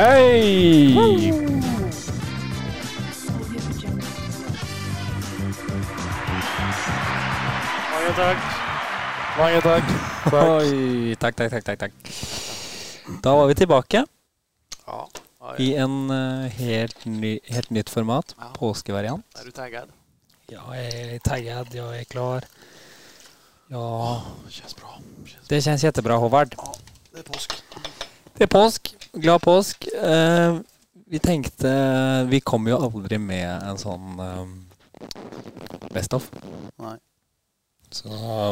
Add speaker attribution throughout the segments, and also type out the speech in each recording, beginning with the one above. Speaker 1: Hei!
Speaker 2: Mange takk.
Speaker 1: Mange takk. takk.
Speaker 3: Oi, takk, takk, takk, takk, takk. Da var vi tilbake
Speaker 2: Ja, da
Speaker 3: i
Speaker 2: er-
Speaker 3: en eh, helt, ny, helt nytt format.
Speaker 2: Ja.
Speaker 3: Påskevariant.
Speaker 2: er du taggad?
Speaker 4: Ja, jag är taggad, jag är klar. Ja,
Speaker 2: Kjennes bra. Kjennes-
Speaker 3: Det kjennes kjempebra, Håvard.
Speaker 2: Det er påske.
Speaker 3: Det er påsk. Glad påsk. Eh, vi tenkte Vi kom jo aldri med en sånn eh, Best of.
Speaker 2: Nei.
Speaker 3: Så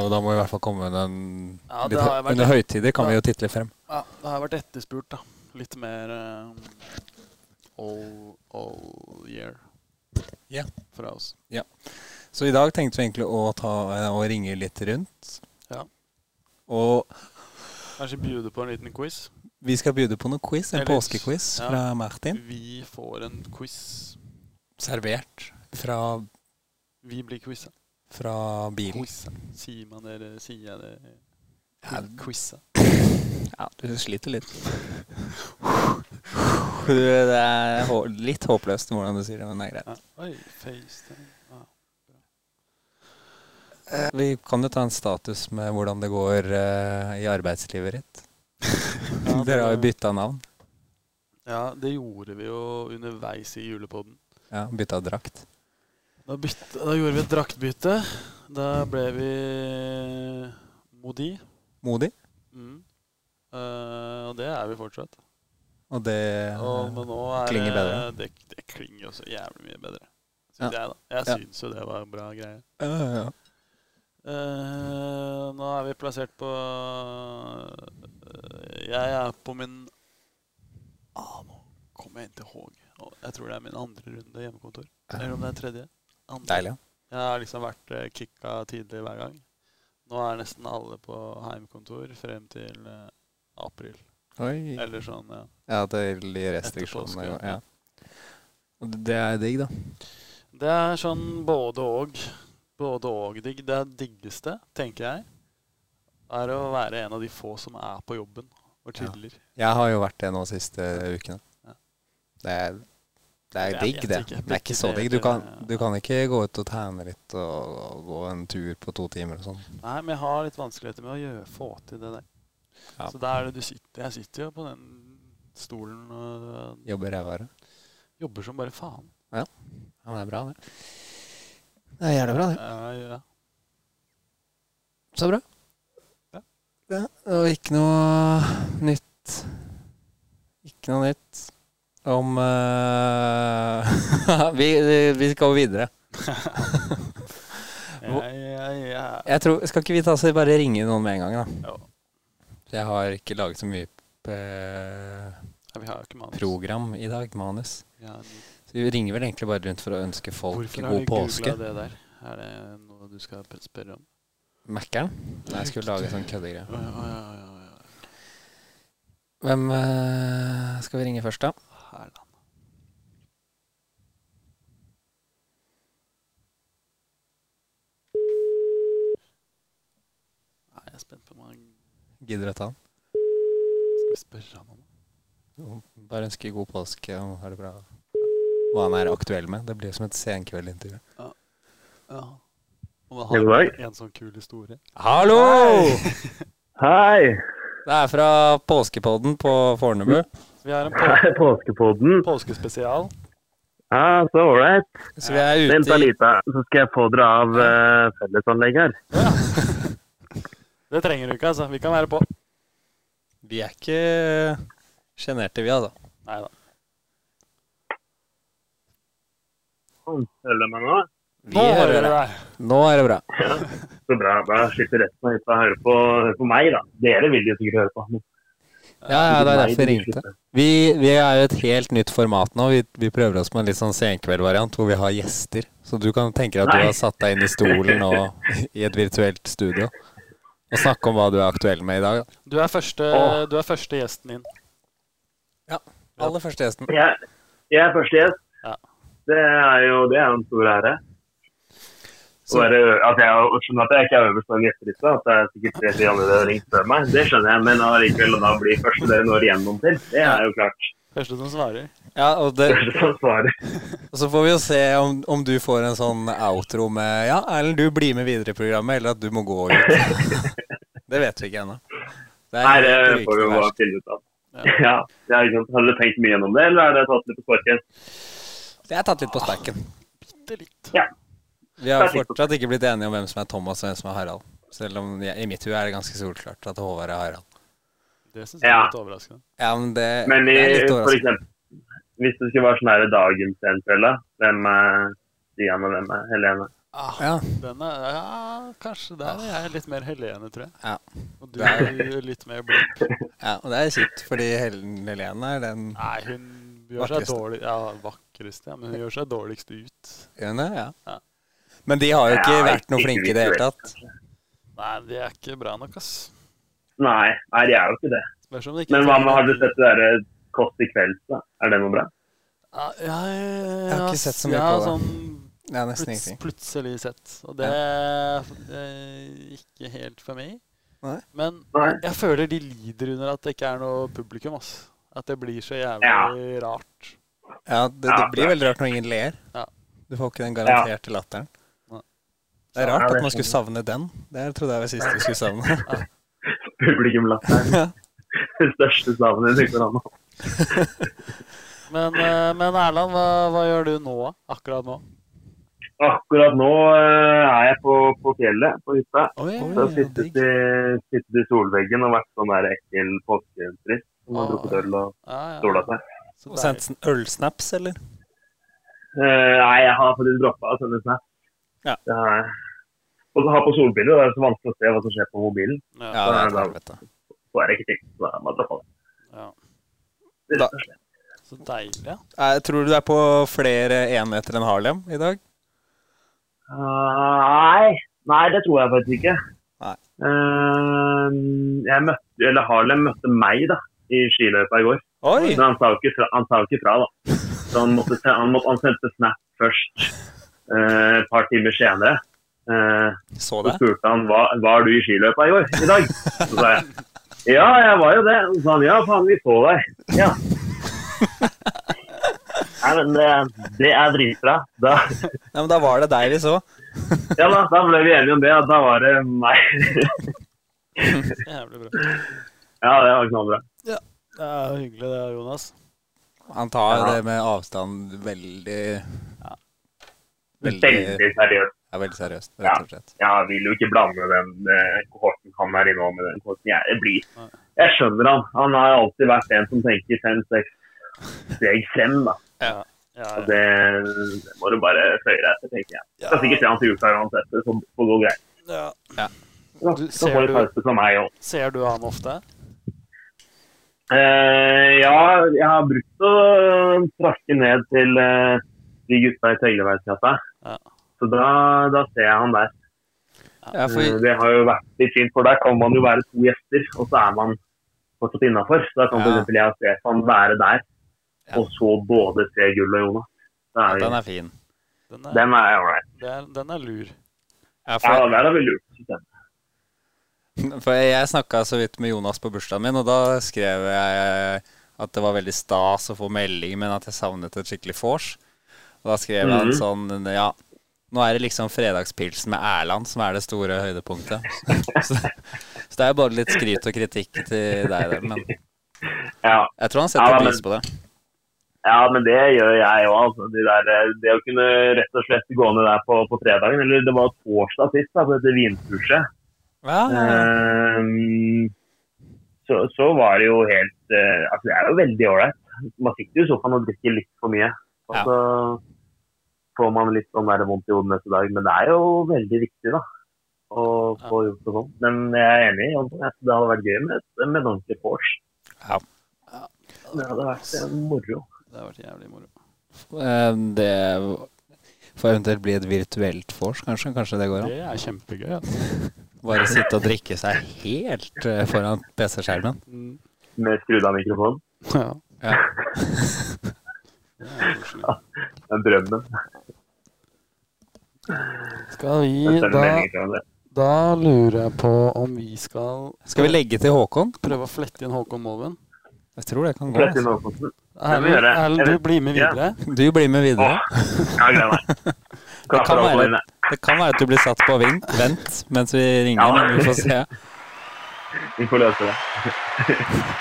Speaker 3: da må vi i hvert fall komme med en
Speaker 2: Ja, det
Speaker 3: litt,
Speaker 2: har jo vært-
Speaker 3: Under høytider kan
Speaker 2: Ja.
Speaker 3: vi jo titte litt frem.
Speaker 2: Ja, det har vært etterspurt, da. Litt mer eh, all, all year.
Speaker 3: Ja.
Speaker 2: Fra oss.
Speaker 3: Så i dag tenkte vi egentlig å, ta, eh, å ringe litt rundt.
Speaker 2: Ja.
Speaker 3: Og
Speaker 2: Kanskje bjude på en liten quiz.
Speaker 3: vi skal bjude på noen quiz. En
Speaker 2: Eller-
Speaker 3: påskequiz
Speaker 2: ja.
Speaker 3: fra Martin.
Speaker 2: Vi får en quiz.
Speaker 3: Servert fra,
Speaker 2: Vi blir quiza.
Speaker 3: fra bilen.
Speaker 2: Quiza. Sier man det, eller sier jeg det?
Speaker 3: Ja,
Speaker 2: Quiza.
Speaker 3: Ja, du sliter litt. Du, det er hå- litt håpløst hvordan du sier det, men det er greit.
Speaker 2: Ja. Oi, FaceTime. Ja.
Speaker 3: Vi kan jo ta en status med hvordan det går eh, i arbeidslivet ditt.
Speaker 2: Ja,
Speaker 3: Dere har jo
Speaker 2: det-
Speaker 3: bytta navn.
Speaker 2: ja, det gjorde vi jo underveis i julepodden.
Speaker 3: Ja, bytta drakt.
Speaker 2: Da, bytte, da gjorde vi et draktbytte. Da ble vi Modi.
Speaker 3: Modig.
Speaker 2: Mm. Eh, og det er vi fortsatt.
Speaker 3: Og det
Speaker 2: Og, men nå er
Speaker 3: Klinger bedre.
Speaker 2: Det, det klinger jo så jævlig mye bedre.
Speaker 3: Ja.
Speaker 2: Synes Jeg, da. jeg
Speaker 3: Ja.
Speaker 2: syns jo det var en bra greie.
Speaker 3: Ja, ja, ja.
Speaker 2: Eh, nå er vi plassert på eh, Jeg er på min ah, Nå kommer jeg inn til Håg. Og Jeg tror det er min andre runde hjemmekontor. Eller om det er tredje. Andre.
Speaker 3: Deilig. ja.
Speaker 2: Jeg har liksom vært eh, kicka tidlig hver gang. Nå er nesten alle på heimkontor frem til eh, april.
Speaker 3: Oi.
Speaker 2: Eller sånn, ja.
Speaker 3: Ja, det er litt
Speaker 2: Etter
Speaker 3: restriksjoner.
Speaker 2: påske,
Speaker 3: Ja. Og det- Det er digg, da.
Speaker 2: Det er sånn både og. Både og digg. Det diggeste, tenker jeg, er å være en av de få som er på jobben og chiller.
Speaker 3: Jeg har jo vært det nå siste ukene.
Speaker 2: Ja.
Speaker 3: Det er, det er
Speaker 2: Jeg
Speaker 3: digg,
Speaker 2: vet
Speaker 3: det.
Speaker 2: ikke.
Speaker 3: Det er ikke så digg. Du
Speaker 2: Begge
Speaker 3: kan,
Speaker 2: deler, ja.
Speaker 3: du kan ikke gå ut og tegne litt og, og gå en tur på to timer og sånn.
Speaker 2: Nei, men jeg har litt vanskeligheter med å gjøre, få til det der.
Speaker 3: Ja.
Speaker 2: Så der er det du sitter. Jeg sitter jo på den stolen og øh,
Speaker 3: Jobbe rævere.
Speaker 2: jobber som bare faen.
Speaker 3: Ja, men det er bra, det. Det er jævlig bra, det.
Speaker 2: Ja, ja.
Speaker 3: Så bra.
Speaker 2: Ja.
Speaker 3: Ja, og ikke noe nytt Ikke noe nytt om eh, vi, vi skal videre. Hvor-
Speaker 2: Jeg, jeg, jeg,
Speaker 3: Jeg tror, skal ikke vi ta oss og bare ringe noen med en gang, da?
Speaker 2: Ja.
Speaker 3: Jeg har ikke laget så mye eh,
Speaker 2: Ja, vi har jo ikke manus.
Speaker 3: program i dag, manus.
Speaker 2: Ja, men
Speaker 3: Så vi ringer vel egentlig bare rundt for å ønske folk
Speaker 2: Hvorfor har
Speaker 3: god
Speaker 2: du
Speaker 3: påske.
Speaker 2: googla det der? Er det noe du skal spørre om?
Speaker 3: Mækkern? Nei, jeg skulle lage sånn køddegreie.
Speaker 2: Å, ja, ja, ja, ja.
Speaker 3: Hvem eh, skal vi ringe først, da?
Speaker 2: Herland. Nei, jeg er spent på om han
Speaker 3: Gidder å ta den?
Speaker 2: Skal vi spørre han om det?
Speaker 3: Jo, Bare ønske god påske og ha det bra. Hva han er aktuell med. Det blir som et senkveldintervju.
Speaker 2: Ja. Om han
Speaker 1: God dag.
Speaker 2: har en sånn kul historie.
Speaker 3: Hallo!
Speaker 1: Hei!
Speaker 3: Det er fra påskepodden på Fornebu.
Speaker 2: Vi har en
Speaker 1: Det
Speaker 2: på
Speaker 1: er påskepodden.
Speaker 2: påskespesial.
Speaker 1: Ja, så ålreit.
Speaker 3: Så vi er
Speaker 1: Vent
Speaker 3: ute
Speaker 1: da
Speaker 3: i
Speaker 1: lite, så skal jeg få dere av eh, fellesanlegget her.
Speaker 2: Det trenger du ikke, altså. Vi kan være på.
Speaker 3: Vi er ikke sjenerte, vi, altså.
Speaker 2: Nei da.
Speaker 1: Hører dere Sånn, meg nå?
Speaker 3: Vi hører deg.
Speaker 2: deg.
Speaker 3: Nå er det bra.
Speaker 1: Så bra. Da slipper resten av hytta å høre på, høre på meg, da. Dere vil jo sikkert høre på. men
Speaker 3: Ja, ja, det er
Speaker 1: meg
Speaker 3: derfor jeg
Speaker 1: vil
Speaker 3: ringte.
Speaker 1: slippe.
Speaker 3: Vi, vi er jo et helt nytt format nå. Vi, vi prøver oss med en litt sånn senkveldvariant hvor vi har gjester. Så du kan tenke deg at
Speaker 1: Nei.
Speaker 3: du har satt deg inn i stolen og i et virtuelt studio og snakke om hva du er aktuell med i dag. da.
Speaker 2: Du er første,
Speaker 1: Åh.
Speaker 2: du er første gjesten inn.
Speaker 3: Aller første gjesten.
Speaker 1: Jeg, jeg er første gjest.
Speaker 2: Ja.
Speaker 1: Det er jo det er jo en stor ære. Og er det, at jeg skjønner at jeg ikke er øverst på den gjestelista, at det er sikkert tre-fire andre som har ringt før meg, det skjønner jeg, men allikevel å da bli første dere når igjennom til, det er jo klart.
Speaker 2: Første som svarer.
Speaker 3: Ja, og, det,
Speaker 1: Første som svarer.
Speaker 3: og så får vi jo se om, om du får en sånn outro med Ja, Erlend, du blir med videre i programmet, eller at du må gå ut. det vet vi ikke ennå. Det
Speaker 1: Nei, det
Speaker 3: rykende
Speaker 1: får vi jo bare
Speaker 3: verst.
Speaker 1: finne ut
Speaker 2: Ja.
Speaker 1: av. Ja, det er ikke sant. Har dere tenkt mye gjennom det, eller er det tatt litt på sparket?
Speaker 3: Det er tatt litt på sparken.
Speaker 2: Bitte litt.
Speaker 3: Vi har jo fortsatt ikke blitt enige om hvem som er Thomas og hvem som er Harald. Selv om jeg, i mitt hue er det ganske solklart at Håvard er Harald.
Speaker 2: Det syns jeg
Speaker 1: Ja.
Speaker 2: er litt overraskende.
Speaker 3: Ja, men det,
Speaker 1: Men i,
Speaker 3: det er litt
Speaker 1: for
Speaker 3: overraskende.
Speaker 1: eksempel, hvis det skulle være sånn her dagens eventuelle, hvem er Stian og hvem er Helene?
Speaker 2: Ah,
Speaker 3: Ja.
Speaker 2: den er, ja, kanskje der er jeg litt mer Helene, tror jeg.
Speaker 3: Ja.
Speaker 2: Og du er litt mer blid.
Speaker 3: Ja, og det er kjipt, fordi Helen Helene er den
Speaker 2: Nei, hun gjør seg
Speaker 3: Vakreste.
Speaker 2: dårlig Ja, vakreste, ja. Men hun gjør seg dårligst ut.
Speaker 3: ene, ja.
Speaker 2: Ja.
Speaker 3: Men de har jo ikke
Speaker 1: Ja,
Speaker 3: vært noe
Speaker 1: ikke
Speaker 3: flinke i det hele
Speaker 1: visuelt.
Speaker 3: tatt.
Speaker 2: Nei, det er ikke bra nok, ass.
Speaker 1: Nei, nei, de er jo ikke det.
Speaker 2: Spørs om det ikke
Speaker 1: Men hva med, har du sett det derre Kåss til kvelds, da? Er det noe bra?
Speaker 2: Ja, jeg, jeg
Speaker 3: har ikke sett så mye
Speaker 2: jeg har
Speaker 3: på det.
Speaker 2: Sånn
Speaker 3: Ja, nesten
Speaker 2: pluts,
Speaker 3: ingenting.
Speaker 2: plutselig sett. Og det er ikke helt for meg.
Speaker 3: Nei.
Speaker 2: Men
Speaker 1: Nei.
Speaker 2: jeg føler de lider under at det ikke er noe publikum. ass. At det blir så jævlig rart.
Speaker 3: Ja, det, det
Speaker 1: Ja,
Speaker 3: blir veldig rart når ingen ler.
Speaker 2: Ja.
Speaker 3: Du får ikke den garanterte latteren.
Speaker 2: Nei.
Speaker 3: Det er
Speaker 1: Ja,
Speaker 3: rart
Speaker 1: det
Speaker 3: at man
Speaker 1: skjønner
Speaker 3: skulle savne den. Det trodde jeg var sist du skulle savne.
Speaker 1: Publikumlatteren.
Speaker 3: Ja.
Speaker 1: Den største savnet i Nykoland.
Speaker 2: Men, eh, men Erland, hva, hva gjør du nå? Akkurat nå?
Speaker 1: Akkurat nå eh, er jeg på, på fjellet, på hytta.
Speaker 2: Oi,
Speaker 3: Oi.
Speaker 1: Så
Speaker 3: Ja,
Speaker 1: jeg sittet
Speaker 3: digg.
Speaker 1: i, sittet i solveggen og vært sånn der ekkel påsketurist som har
Speaker 2: Ah.
Speaker 1: drukket øl og
Speaker 2: Ja, ja.
Speaker 1: sola seg.
Speaker 2: Så
Speaker 3: Og sendt en ølsnaps, eller?
Speaker 1: Eh, nei, jeg har faktisk droppa å sende snap.
Speaker 3: Ja.
Speaker 1: Det har jeg. Og så har jeg på solbriller, og det er så vanskelig å se hva som skjer på mobilen.
Speaker 2: deilig. Ja,
Speaker 3: Ja, det er et helvete.
Speaker 1: Så er det ikke ting. Så da må jeg droppe det.
Speaker 2: ja.
Speaker 1: Det er
Speaker 3: Da-
Speaker 1: rett og slett.
Speaker 2: Så deilig. ja.
Speaker 3: Eh, Tror du du er på flere enheter enn Harlem i dag?
Speaker 1: Eh, nei. nei, det tror jeg faktisk ikke.
Speaker 3: Nei.
Speaker 1: Eh, jeg møtte, eller Harlem møtte meg da, i skiløypa i går.
Speaker 3: Oi!
Speaker 1: Men han sa jo ikke fra, han sa jo ikke fra da. Så han, måtte, se- han, måtte, han sendte snap først eh, et par timer senere. Eh,
Speaker 3: Så
Speaker 1: Så
Speaker 3: det?
Speaker 1: spurte han hva, var du i skiløypa i går, i dag. Så sa jeg ja, jeg var jo det. Så sa han ja, faen, vi så deg. Ja. Nei, men det, det er dritbra. Da,
Speaker 3: Nei, men da var det deg vi så.
Speaker 1: ja da, da ble vi enige om det. at Da var det meg.
Speaker 2: Jævlig bra.
Speaker 1: Ja, det var knallbra.
Speaker 2: Det er hyggelig det, Jonas.
Speaker 3: Han tar
Speaker 1: Ja.
Speaker 3: det med avstand veldig Veldig,
Speaker 1: Veldig seriøst.
Speaker 3: ja, veldig seriøst,
Speaker 1: Ja.
Speaker 3: rett og slett.
Speaker 1: Jeg vil jo ikke blande den eh, kohorten han er innom med den kohorten jeg jeg blir.
Speaker 2: Nei.
Speaker 1: Jeg skjønner han. Han har alltid vært en som tenker fem-seks steg frem, da.
Speaker 2: Ja,
Speaker 1: Og
Speaker 2: ja.
Speaker 1: Det, det må du bare føye deg etter, tenker jeg. Skal sikkert se han til uka uansett. Det får får gå greit.
Speaker 2: Ja.
Speaker 1: Ja,
Speaker 2: Du-
Speaker 1: så
Speaker 2: ser
Speaker 1: får du
Speaker 2: du-
Speaker 1: pause fra meg òg.
Speaker 2: Ser du han ofte?
Speaker 1: Eh, ja, jeg har brukt å traske ned til eh, de gutta i Tøgleveisgata.
Speaker 2: Ja.
Speaker 1: Så da, da ser jeg han der.
Speaker 3: Ja,
Speaker 1: Eh,
Speaker 3: for,
Speaker 1: Det har jo vært litt fint, for der kan man jo være to gjester, og så er man fortsatt innafor. Da kan
Speaker 3: Ja.
Speaker 1: for f.eks. jeg og Stefan være der,
Speaker 3: Ja.
Speaker 1: og så både se Gull og Jonas. Da er vi,
Speaker 3: den er fin.
Speaker 2: Den er,
Speaker 1: den er ålreit.
Speaker 2: det er, den er lur.
Speaker 3: Ja,
Speaker 1: Ja,
Speaker 3: for,
Speaker 1: der er vi lurt. synes jeg.
Speaker 3: for jeg snakka så vidt med Jonas på bursdagen min, og da skrev jeg at det var veldig stas å få melding, men at jeg savnet et skikkelig vors. Og da skrev han
Speaker 1: Mhm.
Speaker 3: sånn Ja, nå er det liksom fredagspilsen med Erland som er det store høydepunktet. Så, så det er jo både litt skryt og kritikk til deg der, men
Speaker 1: Ja.
Speaker 3: jeg tror han
Speaker 1: Ja,
Speaker 3: setter
Speaker 1: men-
Speaker 3: pris på det.
Speaker 1: Ja, men det gjør jeg òg. Altså. Det, der, eh, det å kunne rett og slett gå ned der på, på fredagen, eller det var torsdag sist, da, på dette vinkurset,
Speaker 3: Ja, ja,
Speaker 1: Eh.
Speaker 3: ja.
Speaker 1: Ehm, så, så var det jo helt eh, Altså, det er jo veldig ålreit. Man sitter jo i sofaen og drikker litt for mye. Og
Speaker 3: Ja.
Speaker 1: så får man litt sånn der vondt i hodet neste dag. Men det er jo veldig viktig, da. Å få gjort det sånn. Men jeg er enig i at det hadde vært gøy med, et- med en ordentlig vors.
Speaker 3: Ja.
Speaker 1: Det hadde vært eh, moro.
Speaker 2: Det har vært jævlig moro.
Speaker 3: Eh, Det får eventuelt bli et virtuelt vors, kanskje. Kanskje det går an.
Speaker 2: Det er kjempegøy. altså. Ja.
Speaker 3: Bare sitte og drikke seg helt eh, foran PC-skjermen.
Speaker 2: Mm.
Speaker 1: Med skrudd av mikrofon.
Speaker 2: ja.
Speaker 3: Ja.
Speaker 2: Det er koselig.
Speaker 1: Det er drømmen.
Speaker 2: Skal vi
Speaker 5: Men større
Speaker 2: da
Speaker 5: meninger kan det.
Speaker 2: Da lurer jeg på om vi skal
Speaker 3: Skal vi legge til Håkon?
Speaker 2: prøve å flette inn Håkon Moven.
Speaker 3: Jeg tror det kan gå.
Speaker 5: Flest
Speaker 3: Altså.
Speaker 5: inn Håkonsen. Det må vi
Speaker 2: Erlend,
Speaker 5: gjøre.
Speaker 2: Erlend, du blir med
Speaker 5: Ja.
Speaker 2: videre.
Speaker 3: Du blir med
Speaker 5: Åh,
Speaker 3: videre.
Speaker 5: ja, gleder meg. Klapper alle
Speaker 3: være-
Speaker 5: inne.
Speaker 3: Det kan være at du blir satt på vink, vent mens vi ringer,
Speaker 5: Ja.
Speaker 3: men vi får se.
Speaker 5: Vi får løse det.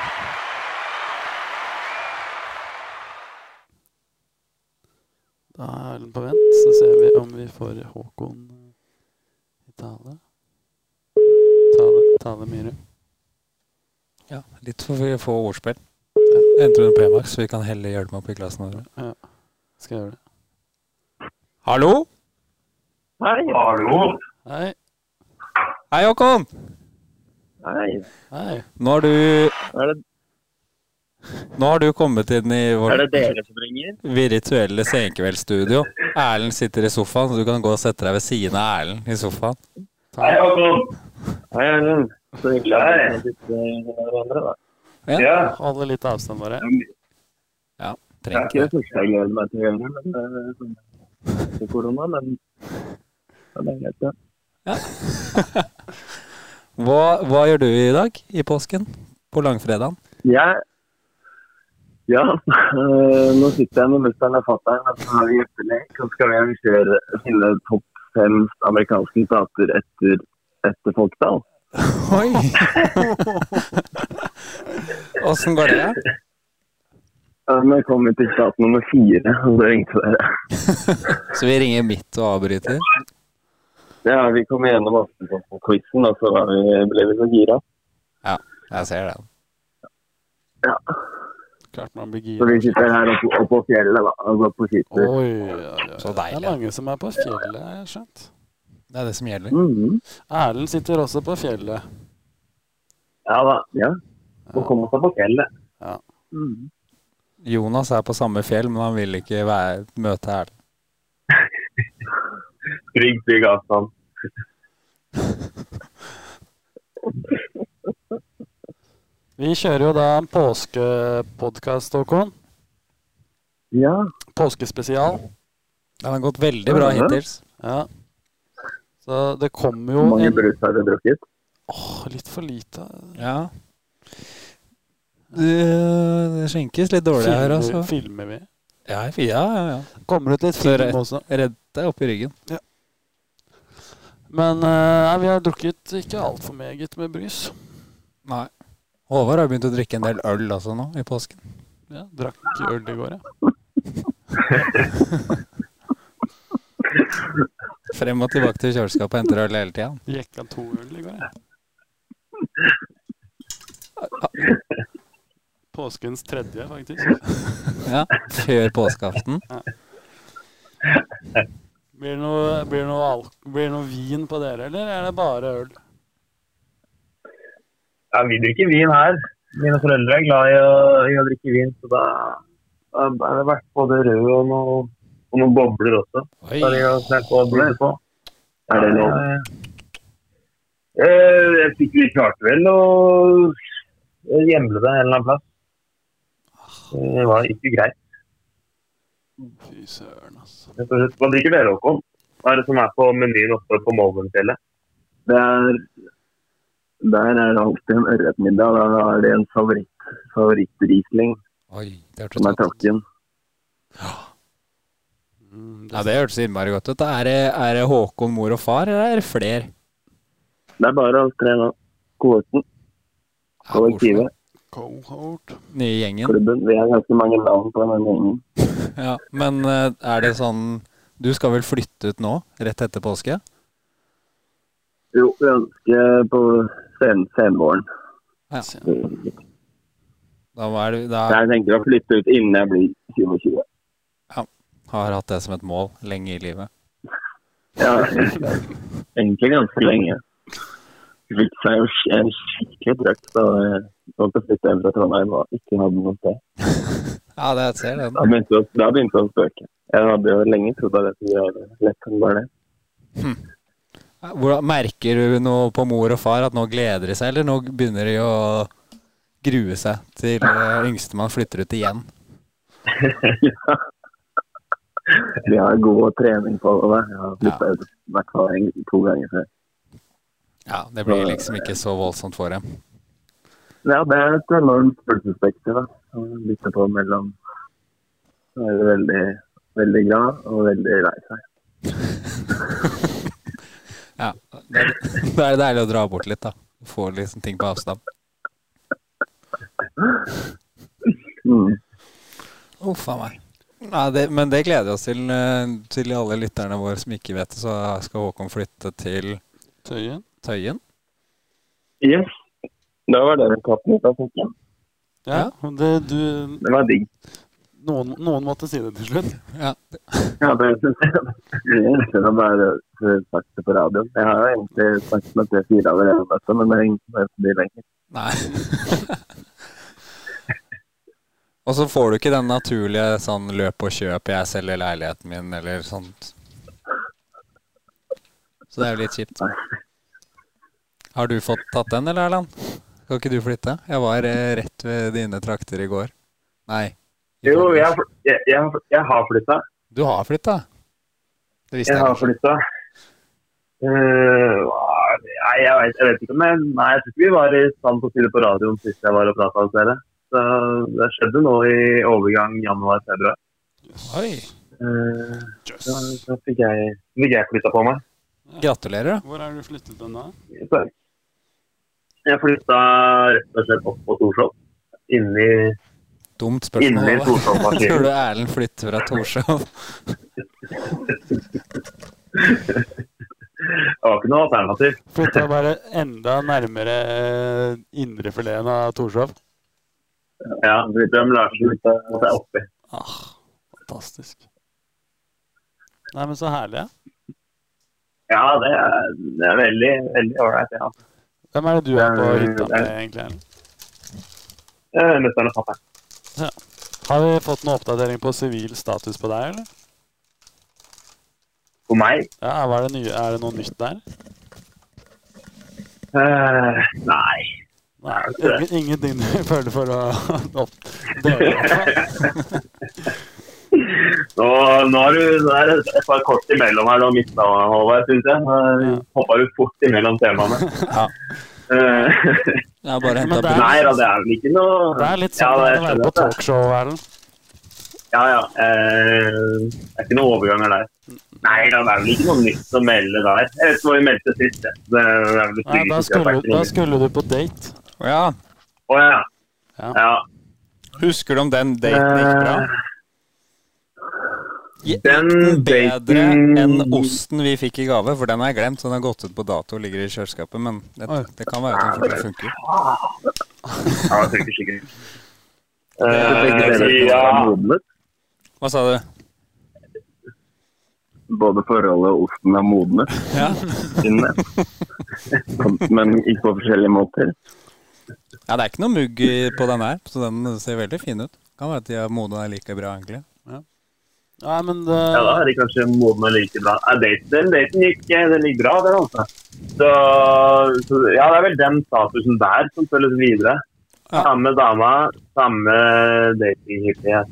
Speaker 2: Da er Erlend på vent, så ser vi om vi får Håkon i tale. Tale, tale Myhre.
Speaker 3: Ja, litt for få ordspill. Enter en P-max, så vi kan helle hjelmen opp i glassene våre.
Speaker 2: Skal jeg gjøre det.
Speaker 3: Hallo?
Speaker 5: Hei. Hallo.
Speaker 2: Hei.
Speaker 3: Hei, Håkon!
Speaker 5: Hei.
Speaker 2: Hei.
Speaker 3: Nå har du,
Speaker 1: Er det,
Speaker 3: nå har du kommet inn i
Speaker 1: er
Speaker 3: vårt
Speaker 1: det dere som ringer?
Speaker 3: virtuelle senkveldsstudio. Erlend sitter i sofaen, så du kan gå og sette deg ved siden av Erlend i sofaen.
Speaker 5: Hei,
Speaker 2: Ta,
Speaker 5: Håkon.
Speaker 1: Hei, Erlend. Så hyggelig at
Speaker 5: Hei.
Speaker 1: dere sitter med hverandre, da.
Speaker 5: Ja.
Speaker 2: holde litt avstand, bare.
Speaker 5: Ja,
Speaker 3: Trenger
Speaker 1: Det er ikke det første jeg gleder meg til å gjøre, men det er sånn etter korona, men men det er greit, ja.
Speaker 3: Hva, hva gjør du i dag i påsken? På langfredagen?
Speaker 1: Jeg Ja, øh, nå sitter jeg med mutter'n og fatter'n og så har vi hjelpelek, og så skal vi arrangere finne topp fem amerikanske stater etter, etter folketall.
Speaker 3: Oi! Åssen går det?
Speaker 1: Ja, Men jeg kom vi til stat nummer fire, og da ringte dere.
Speaker 3: Så vi ringer midt og avbryter.
Speaker 1: Ja, vi kom gjennom Aftenposten-quizen, og så var vi, ble vi så gira.
Speaker 3: Jeg ser den.
Speaker 2: Klart man blir
Speaker 1: Så vi
Speaker 2: gira.
Speaker 1: sitter her oppe, oppe på fjellet, da, og går på skitur.
Speaker 2: Oi, oi, oi.
Speaker 3: Så
Speaker 2: Det
Speaker 3: deilig.
Speaker 2: er mange som er på fjellet, har jeg skjønt.
Speaker 3: Det er det som gjelder.
Speaker 1: Mhm.
Speaker 2: Erlend sitter også på fjellet.
Speaker 5: Ja da.
Speaker 1: Ja.
Speaker 5: Må komme seg på fjellet.
Speaker 1: Mhm.
Speaker 3: Jonas er på samme fjell, men han vil ikke være, møte Erlend.
Speaker 5: Trygg, trygg avstand.
Speaker 2: Vi kjører jo da en påskepodkast, Håkon.
Speaker 1: ja.
Speaker 2: Påskespesial.
Speaker 3: Den har gått veldig bra hittils.
Speaker 2: Ja. Så det kommer jo
Speaker 1: Hvor mange
Speaker 2: en
Speaker 1: brus har dere drukket?
Speaker 2: Åh, Litt for lite.
Speaker 3: Ja. Det, det skinkes litt dårlig her,
Speaker 2: Filmer,
Speaker 3: altså.
Speaker 2: filmer vi?
Speaker 3: Ja, ja, ja. ja.
Speaker 2: Kommer ut litt
Speaker 3: Så
Speaker 2: film
Speaker 3: rett.
Speaker 2: også.
Speaker 3: Redd deg oppi ryggen.
Speaker 2: Men eh, nei, vi har drukket ikke altfor meget med brys.
Speaker 3: Nei. Håvard har begynt å drikke en del øl også nå i påsken.
Speaker 2: Ja, drakk øl i går, ja.
Speaker 3: Frem og tilbake til kjøleskapet og henter øl hele tida.
Speaker 2: Jekka to øl i går, jeg. Påskens tredje, faktisk.
Speaker 3: Ja. Før påskeaften.
Speaker 2: Blir det noe, blir det noe, alk blir det noe vin på dere, eller er det bare øl?
Speaker 5: Ja, vi drikker vin her. Mine foreldre er glad i å, i å drikke vin, så da, da er det vært både rød og noe og noen bobler også.
Speaker 3: Oi.
Speaker 5: Så det er å snakke om det etterpå.
Speaker 1: Er det lov?
Speaker 5: Eh, Jeg fikk vi klarte vel å gjemle det en eller annen plass. Det var ikke greit.
Speaker 2: Fy søren, altså.
Speaker 5: rett og slett. Hva drikker dere, Håkon? Hva er det som er på menyen oppe på Molvenfjellet?
Speaker 1: Der, der er det alltid en ørretmiddag. Da er det en favoritt, favorittrisling
Speaker 3: Oi, det
Speaker 1: som
Speaker 3: hørtes
Speaker 1: er
Speaker 3: godt ut.
Speaker 1: takken.
Speaker 2: Mm,
Speaker 3: Ja,
Speaker 2: det,
Speaker 3: det hørtes innmari godt ut. Er det, er det Håkon, mor og far, eller er det flere?
Speaker 1: Det er bare oss tre nå. Kohorten,
Speaker 3: Ja,
Speaker 1: kollektivet,
Speaker 2: cohort.
Speaker 3: Nye gjengen.
Speaker 1: klubben. Vi har ganske mange navn på denne gjengen.
Speaker 3: Ja, men eh, er det sånn Du skal vel flytte ut nå, rett etter påske?
Speaker 1: Jo, vi ønsker på sen, senvåren.
Speaker 2: Se.
Speaker 1: Så
Speaker 3: Da er det, da
Speaker 1: Jeg tenker å flytte ut innen jeg blir 2020.
Speaker 3: har jeg hatt det som et mål lenge i livet.
Speaker 1: Ja, egentlig ganske lenge. Fikk seg jo sk- en skikkelig drøkt da jeg måtte flytte hjem fra Trondheim og ikke hadde noe sted.
Speaker 3: Ja, det jeg ser den.
Speaker 1: Da begynte det å- da begynte det å spøke. Jeg hadde jo lenge trodd at jeg skulle gjøre det lett som bare det.
Speaker 3: Hvordan, merker du noe på mor og far at nå gleder de seg, eller nå begynner de å grue seg til eh, yngstemann flytter ut igjen?
Speaker 6: Vi har god trening på det. Jeg har flytta ut i hvert fall en, to ganger før.
Speaker 3: Ja, det blir liksom ikke så voldsomt for dem.
Speaker 6: Ja, det er et enormt følelsesspekter. da. Å Bytte på mellom Nå er det veldig, veldig glad og veldig lei seg.
Speaker 3: Ja, Da er det da er det deilig å dra bort litt, da. Få liksom ting på avstand.
Speaker 6: Mm.
Speaker 3: Uff a meg. Nei, det, men det gleder vi oss til. eh, Til alle lytterne våre som ikke vet det, så skal Håkon flytte til
Speaker 2: Tøyen?
Speaker 3: Tøyen.
Speaker 6: Yes. Da var det den katten. Da fikk jeg.
Speaker 2: Ja. Det, du,
Speaker 6: Det var digg.
Speaker 2: noen, noen måtte si det til slutt.
Speaker 3: Ja,
Speaker 6: Ja, det synes jeg. Jeg elsker å bare få sagt det på radioen. Jeg har jo egentlig sagt meg tre-fire allerede, vet du, men det er ingen som hører på de lenger.
Speaker 3: Nei. og så får du ikke den naturlige sånn løp og kjøp, jeg selger leiligheten min, eller sånt. Så det er jo litt kjipt. Har du fått tatt den, eller Erland? Skal ikke du flytte? Jeg var eh, rett ved dine trakter i går. Nei. i
Speaker 1: Jo,
Speaker 3: forgårs.
Speaker 1: jeg, har fl- jeg, jeg, har- jeg har flytta.
Speaker 3: Du har flytta? Det visste
Speaker 1: Jeg
Speaker 3: jeg
Speaker 1: har
Speaker 3: kanskje.
Speaker 1: flytta. nei, jeg vet, jeg vet ikke, men nei, jeg tror ikke vi var i stand til å si det på radioen sist jeg var og prata hos dere. Så det skjedde nå i overgang januar-februar.
Speaker 3: Oi.
Speaker 1: Eh,
Speaker 2: Jøss.
Speaker 1: Da da fikk jeg, fikk jeg flytta på meg.
Speaker 3: Gratulerer, da.
Speaker 2: Hvor er du flyttet den, da?
Speaker 1: Så jeg flytta rett og slett opp på Torshov. Inni,
Speaker 3: Dumt
Speaker 1: inni
Speaker 3: spørsmål. da. Tror
Speaker 1: Torshov-partiet.
Speaker 3: du Erlend flytter fra Torshov?
Speaker 1: Det var ikke noe alternativ.
Speaker 2: Flytta bare enda nærmere eh, indrefileten av Torshov.
Speaker 1: Ja, Britam Larsen flytta seg oppi.
Speaker 2: Ah, fantastisk. Nei, men så herlig. ja.
Speaker 1: Ja, det er, det er veldig veldig ålreit. Ja.
Speaker 2: Hvem er det du er på
Speaker 1: Eh,
Speaker 2: hytta med,
Speaker 1: eh.
Speaker 2: egentlig? Erlend?
Speaker 1: Eh, Mutter'n og fatter'n.
Speaker 2: Har vi fått noen oppdatering på sivil status på deg, eller?
Speaker 1: For meg
Speaker 2: Ja, hva er, det nye? er det noe nytt der?
Speaker 1: eh, Nei.
Speaker 2: Nei, ingen, ingenting du føler for å opp- dele? i hvert fall.
Speaker 1: Nå, nå er du nå er det et par kort imellom her, du har mista Håvard, syns jeg. Nå hoppa du fort imellom temaene.
Speaker 3: Ja.
Speaker 1: Eh,
Speaker 3: Jeg har bare
Speaker 2: Men
Speaker 3: henta
Speaker 2: det er-
Speaker 1: nei da, det er vel ikke noe
Speaker 2: Det er litt
Speaker 1: Ja,
Speaker 2: sånn
Speaker 1: det
Speaker 2: å være
Speaker 1: skjønner
Speaker 2: på
Speaker 1: jeg.
Speaker 2: talkshow, Erlend.
Speaker 1: Ja, ja. Eh, det er ikke noen overganger der. Nei da, det er vel ikke noe nytt å melde der. Jeg vet ikke hva vi meldte sist. jeg. Det er vel det
Speaker 2: Nei, da
Speaker 1: styggeste jeg har
Speaker 2: skulle,
Speaker 1: vært i
Speaker 2: da
Speaker 1: livet.
Speaker 2: skulle du på date.
Speaker 3: Ja.
Speaker 1: Å ja.
Speaker 2: Ja.
Speaker 1: ja.
Speaker 3: Husker du om den daten gikk bra?
Speaker 1: Eh,
Speaker 3: Gikk
Speaker 1: Den
Speaker 3: den bedre
Speaker 1: daten-
Speaker 3: enn osten vi fikk i gave, for den har jeg glemt. så Den har gått ut på dato og ligger i kjøleskapet, men det,
Speaker 2: Oi.
Speaker 3: det kan være at den fortsatt funker.
Speaker 1: Ja, jeg trykker sikkert.
Speaker 3: er
Speaker 1: Eh,
Speaker 3: begge deler.
Speaker 1: ja.
Speaker 6: modnet.
Speaker 3: Hva sa du?
Speaker 6: Både forholdet og osten er modne
Speaker 3: Ja,
Speaker 6: inne. Men ikke på forskjellige måter.
Speaker 3: ja Det er ikke noe mugg i- på den her, så den ser veldig fin ut. Kan være at de har modna like bra, egentlig.
Speaker 2: Nei, men
Speaker 1: Ja, da
Speaker 2: det,
Speaker 1: er de kanskje modne like bra. Ja, daten, den daten gikk, eh, den gikk bra, den altså. Så, så ja, det er vel den statusen der som følges videre.
Speaker 3: Ja.
Speaker 1: Samme dama, samme datinghyppighet.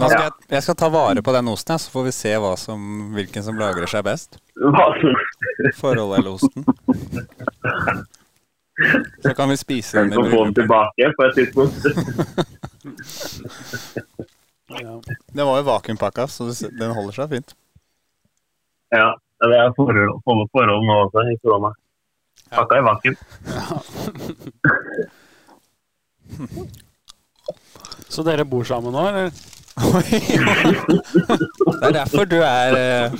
Speaker 3: Da skal jeg, jeg skal ta vare på den osten, jeg, så får vi se hva som, hvilken som lagrer seg best.
Speaker 1: Hva som
Speaker 3: Forholdet eller osten. Så kan vi spise
Speaker 1: den
Speaker 3: den i
Speaker 1: som får den
Speaker 3: bryllupet.
Speaker 1: tilbake på et tidspunkt.
Speaker 2: ja.
Speaker 3: Den var jo vakuumpakka, så du ser- den holder seg fint.
Speaker 1: Ja, det er forhold, forhold, forhold nå også i korona. Pakka i vakuum.
Speaker 2: Så dere bor sammen nå, eller?
Speaker 3: Oi. Det er derfor du er eh,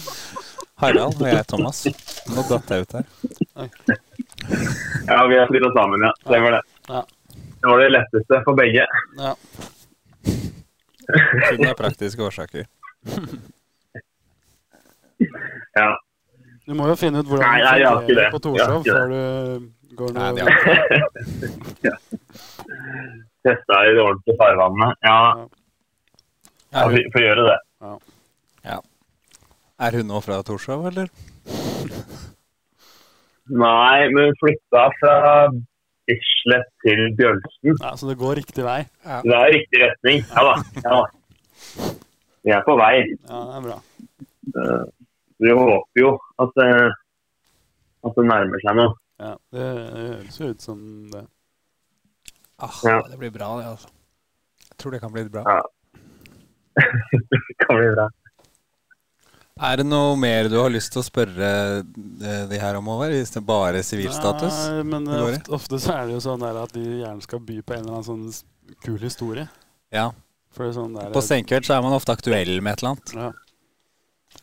Speaker 3: Harald og jeg er Thomas. Nå datt jeg ut her.
Speaker 1: Ja, vi har flyttet sammen, ja. Det var det.
Speaker 2: Ja.
Speaker 1: Det var det letteste for begge.
Speaker 2: Ja.
Speaker 3: Kun av praktiske årsaker.
Speaker 1: Ja.
Speaker 2: Du må jo finne ut hvordan
Speaker 1: Nei, nei, jeg har ikke det.
Speaker 2: på
Speaker 1: Jeg
Speaker 2: Torshov
Speaker 1: har ikke det.
Speaker 2: før du går
Speaker 3: Nei, det
Speaker 2: noe
Speaker 3: har jeg ikke.
Speaker 1: Testa i det ordentlige farvannet. Ja, ja
Speaker 3: Er
Speaker 1: vi
Speaker 3: hun,
Speaker 1: får gjøre det.
Speaker 3: er hun nå fra Torshov, eller?
Speaker 1: Nei, men hun flytta fra Bislett til Bjølsen.
Speaker 2: Ja, Så det går riktig vei.
Speaker 1: Det er riktig retning. Ja da. Ja, da. Vi er på vei.
Speaker 2: Ja, det er bra.
Speaker 1: Eh, Vi håper jo at, eh, at det nærmer seg noe.
Speaker 2: Ja, det høres jo ut som det.
Speaker 4: Ah,
Speaker 1: Ja.
Speaker 4: Det blir bra, det, altså. Jeg tror det kan bli bra.
Speaker 1: Ja. Det kan bli bra.
Speaker 3: Er det noe mer du har lyst til å spørre eh, de her om, Håvard? Hvis det bare er sivilstatus?
Speaker 2: Nei, men
Speaker 3: Det går i.
Speaker 2: ofte, ofte så er det jo sånn der at de gjerne skal by på en eller annen sånn s- kul historie.
Speaker 3: Ja.
Speaker 2: For det er sånn der,
Speaker 3: På senkveld så er man ofte aktuell med et eller annet.
Speaker 2: Ja.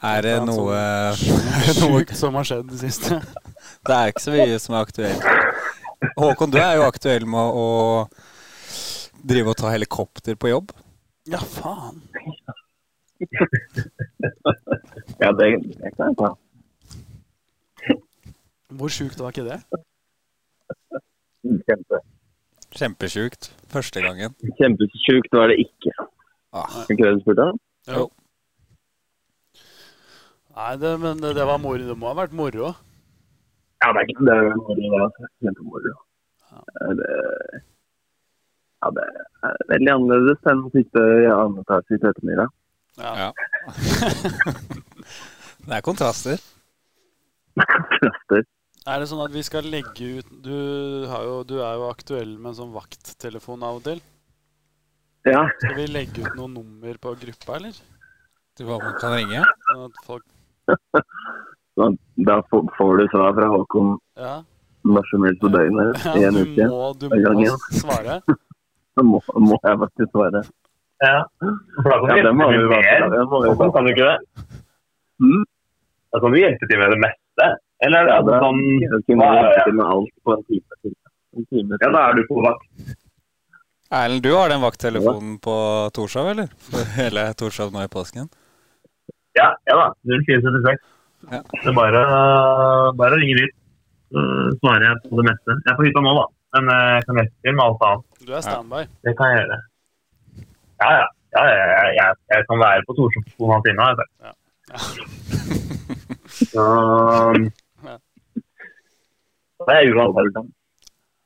Speaker 3: Er det
Speaker 2: Ja, sånn.
Speaker 3: noe eh, noe-
Speaker 2: Sjukt som har skjedd det siste.
Speaker 3: Det er ikke så mye som er aktuelt. Håkon, du er jo aktuell med å drive og ta helikopter på jobb.
Speaker 2: Ja, faen.
Speaker 6: Ja, det, det kan jeg ta.
Speaker 2: Hvor sjukt var ikke det?
Speaker 6: Kjempe.
Speaker 3: Kjempesjukt. Første gangen.
Speaker 6: Kjempesjukt var det ikke.
Speaker 3: Ah.
Speaker 6: Ikke det du spurte om?
Speaker 3: Jo.
Speaker 2: Nei, det, men det, det var moro. Det må ha vært moro.
Speaker 6: Ja, det er ikke det. er moro, det er Kjempemoro. Eh, det- Ja, det er veldig annerledes enn å sitte i annen etasje i Tøtemyra.
Speaker 2: Ja.
Speaker 3: Ja. Det er kontraster.
Speaker 6: Krafter.
Speaker 2: Er det sånn at vi skal legge ut Du, har jo, du er jo aktuell med en sånn vakttelefon av og til.
Speaker 6: Ja,
Speaker 2: Skal vi legge ut noen nummer på gruppa, eller?
Speaker 3: Du Håkon, kan ringe.
Speaker 2: Sånn at folk
Speaker 6: så da får får du svar fra Håkon
Speaker 2: Ja.
Speaker 6: når som helst på døgnet
Speaker 2: ja
Speaker 6: i en
Speaker 2: du,
Speaker 6: uke.
Speaker 2: må, du
Speaker 6: En gang
Speaker 2: må
Speaker 6: igjen.
Speaker 2: svare.
Speaker 6: Da må, må jeg faktisk svare.
Speaker 1: Ja, for da kan
Speaker 6: Ja,
Speaker 1: du
Speaker 6: det må
Speaker 1: hjelpe
Speaker 6: vi
Speaker 1: til med
Speaker 6: bare-
Speaker 1: mer.
Speaker 6: det må vi
Speaker 1: Sånn
Speaker 6: bare-
Speaker 1: kan du ikke det?
Speaker 6: Mm.
Speaker 1: Da kan du hjelpe til med det meste. Eller
Speaker 6: Ja,
Speaker 1: er det
Speaker 6: da
Speaker 1: sånn
Speaker 6: kan vi
Speaker 1: hva er
Speaker 6: hjelpe
Speaker 1: det?
Speaker 6: til med alt på en time. til. En time
Speaker 1: Ja,
Speaker 6: til.
Speaker 1: da er du på vakt.
Speaker 3: Erlend, du har den vakttelefonen på Torshov, eller? For hele Torshov nå i påsken?
Speaker 1: Ja, ja da. 0476.
Speaker 3: Ja.
Speaker 1: Det er bare, bare å ringe dit. Så svarer jeg på det meste. Jeg er på hytta nå, da. Men eh, jeg kan hjelpe til med alt annet.
Speaker 2: Du er standby.
Speaker 1: Det kan jeg gjøre. Ja, ja. ja, ja, ja, ja. Jeg, jeg kan være på Torshov på noen timer. Altså.
Speaker 2: Ja.
Speaker 1: Så
Speaker 2: Ja.
Speaker 1: Det er uansett. sånn.